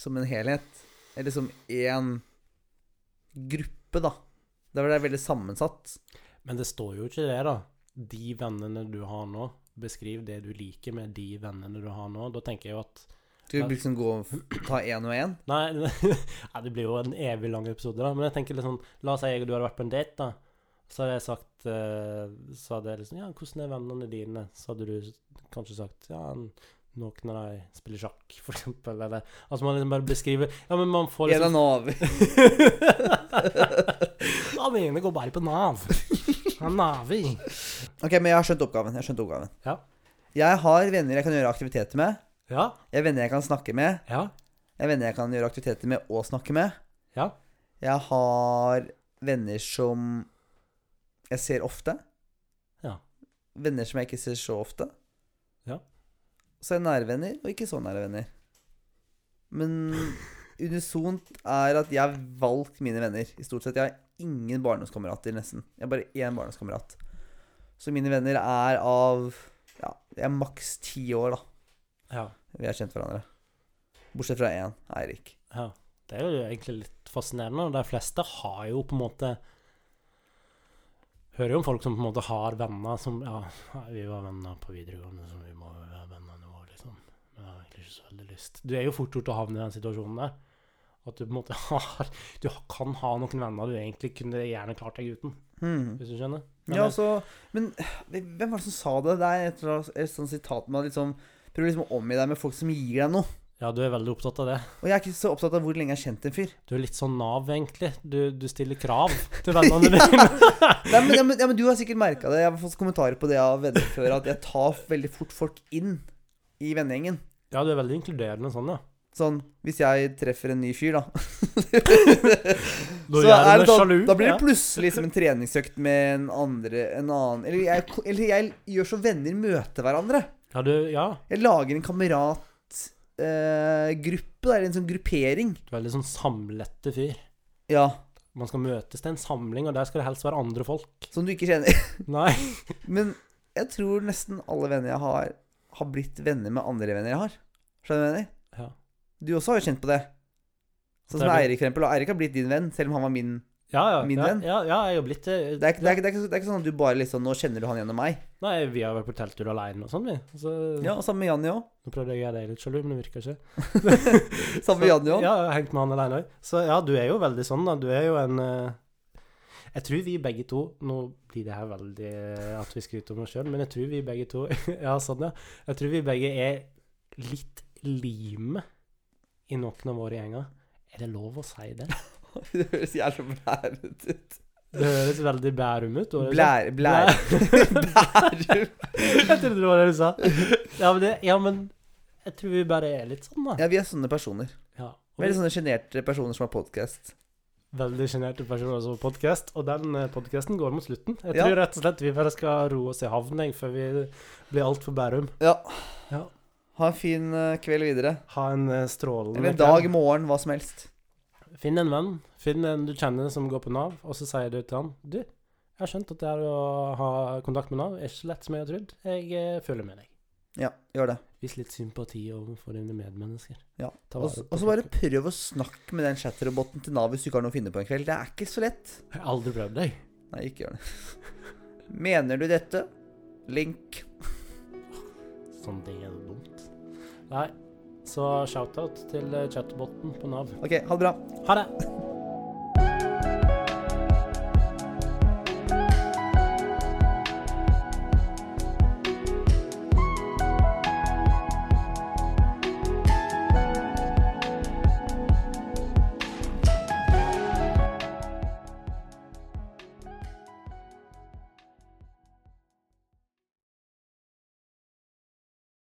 S1: som en helhet. Eller som én gruppe, da. Det er vel det er veldig sammensatt.
S2: Men det står jo ikke det, da. De vennene du har nå, beskriv det du liker med de vennene du har nå. Da tenker jeg jo at
S1: Skal vi liksom gå og ta én og én?
S2: Nei, nei, det blir jo en evig lang episode, da. Men jeg tenker litt sånn La oss si jeg og du hadde vært på en date, da. Så hadde jeg sagt eh, Så hadde jeg liksom Ja, hvordan er vennene dine? Så hadde du kanskje sagt Ja, n- noen av dem spiller sjakk, for eksempel. Eller Altså, man liksom bare beskriver Ja, men man
S1: En
S2: får
S1: er
S2: liksom
S1: naver.
S2: Ja, mine går bare på Nav. Han navi.
S1: Ok, men jeg har skjønt oppgaven. Jeg har skjønt oppgaven.
S2: Ja.
S1: Jeg har venner jeg kan gjøre aktiviteter med.
S2: Ja.
S1: Jeg har venner jeg kan snakke med.
S2: Ja.
S1: Jeg har venner jeg kan gjøre aktiviteter med og snakke med.
S2: Ja.
S1: Jeg har venner som jeg ser ofte.
S2: Ja.
S1: Venner som jeg ikke ser så ofte.
S2: Ja.
S1: Så er jeg nære venner, og ikke så nære venner. Men unisont er at jeg har valgt mine venner. I stort sett. Jeg har ingen barndomskamerater, nesten. Jeg har bare én barndomskamerat. Så mine venner er av Ja, jeg er maks ti år, da.
S2: ja.
S1: Vi har kjent hverandre. Bortsett fra én, Eirik.
S2: Ja, det er jo egentlig litt fascinerende. og De fleste har jo på en måte Hører jo om folk som på en måte har venner som Ja, nei, vi var venner på videregående, så vi må jo være venner nå, liksom. Men jeg har egentlig ikke så veldig lyst. Du er jo fort gjort å havne i den situasjonen der. At du på en måte har Du kan ha noen venner du egentlig kunne gjerne klart deg uten.
S1: Hmm.
S2: hvis du skjønner.
S1: Ja, altså, men hvem var det som sa det? Det er et eller annet- et sånt sitat med at liksom Prøv liksom å omgi deg med folk som gir deg noe.
S2: ja, du er veldig opptatt av det.
S1: Og jeg er ikke så opptatt av hvor lenge jeg har kjent en fyr.
S2: Du er litt sånn Nav, egentlig. Du, du stiller krav til vennene dine.
S1: Nei, men, ja, men, ja, men Du har sikkert merka det. Jeg har fått kommentarer på det av venner før, at jeg tar veldig fort folk inn i vennegjengen.
S2: Ja, du er veldig inkluderende sånn, ja.
S1: Sånn, hvis jeg treffer en ny fyr, da
S2: Da
S1: så
S2: gjør
S1: er
S2: du
S1: det
S2: deg
S1: sånn-
S2: sjalu.
S1: Da blir det
S2: ja.
S1: plutselig liksom en treningsøkt med en andre en annen Eller jeg, eller jeg gjør så venner møter hverandre.
S2: Ja, du, ja,
S1: Jeg lager en kameratgruppe, eh, gruppe, eller en sånn gruppering.
S2: du er veldig sånn samlete fyr.
S1: Ja,
S2: Man skal møtes til en samling, og der skal det helst være andre folk.
S1: Som du ikke kjenner.
S2: Nei.
S1: Men jeg tror nesten alle venner jeg har, har blitt venner med andre venner jeg har. Skjønner du hva jeg mener?
S2: Ja.
S1: Du også har jo kjent på det. Sånn som
S2: Det er det.
S1: Eirik, for eksempel. Og Eirik har blitt din venn, selv om han var min.
S2: Ja, ja.
S1: Min
S2: ja,
S1: venn?
S2: Ja, ja, jeg har blitt det.
S1: Det er, ikke- det, er, ikke- det, er ikke, så- det er ikke sånn at du bare liksom Nå kjenner du han gjennom meg.
S2: Nei, vi har vært på telttur alene og sånn, vi. Så,
S1: Ja, og Sammen med Janni òg.
S2: Nå prøvde jeg å gjøre deg litt sjalu, men det virka ikke.
S1: Sammen med
S2: Så-
S1: Janni òg.
S2: Ja, jeg har hengt med han alene òg. Så ja, du er jo veldig sånn, da. Du er jo en eh, Jeg tror vi begge to Nå blir det her veldig eh, at vi skryter om oss sjøl, men jeg tror vi begge to Ja, sånn, ja. Jeg tror vi begge er litt lime i noen av våre gjenger. Er det lov å si det?
S1: Det høres jævlig blærete ut.
S2: Det høres veldig Bærum ut. og det er sånn-
S1: Blær... Blær... Blærum.
S2: Jeg trodde det var det du sa. Ja, men, det, ja, men jeg tror vi bare er litt sånn, da.
S1: Ja, vi er sånne personer.
S2: Ja. Og
S1: Veldig sånne sjenerte personer som har podkast.
S2: Veldig sjenerte personer som podkast, og den podkasten går mot slutten. Jeg
S1: Ja.
S2: tror rett og slett vi bare skal roe oss i havn jeg, før vi blir altfor Bærum.
S1: Ja.
S2: Ja.
S1: Ha en fin eh, kveld videre.
S2: Ha en eh, strålende
S1: Eller en
S2: kveld.
S1: dag, morgen, hva som helst.
S2: Finn en venn, finn en du kjenner som går på Nav, og så sier du til han Du, jeg har skjønt at det her å ha kontakt med Nav er ikke så lett som jeg har trodd. Jeg eh, føler med deg.
S1: Ja, gjør det.
S2: Vis litt sympati overfor dine medmennesker.
S1: Ja.
S2: Ta
S1: Og
S2: vare
S1: så
S2: på
S1: og så bare
S2: folk.
S1: prøv å snakke med den chatroboten til Nav hvis du ikke har noe å finne på en kveld. Det er ikke så lett.
S2: Jeg har aldri prøvd deg.
S1: Nei, ikke gjør det. Mener du dette? Link.
S2: Sånne ting er jo dumt. Nei, så shout-out til eh, chatboten på Nav.
S1: OK, ha det bra.
S2: Ha det!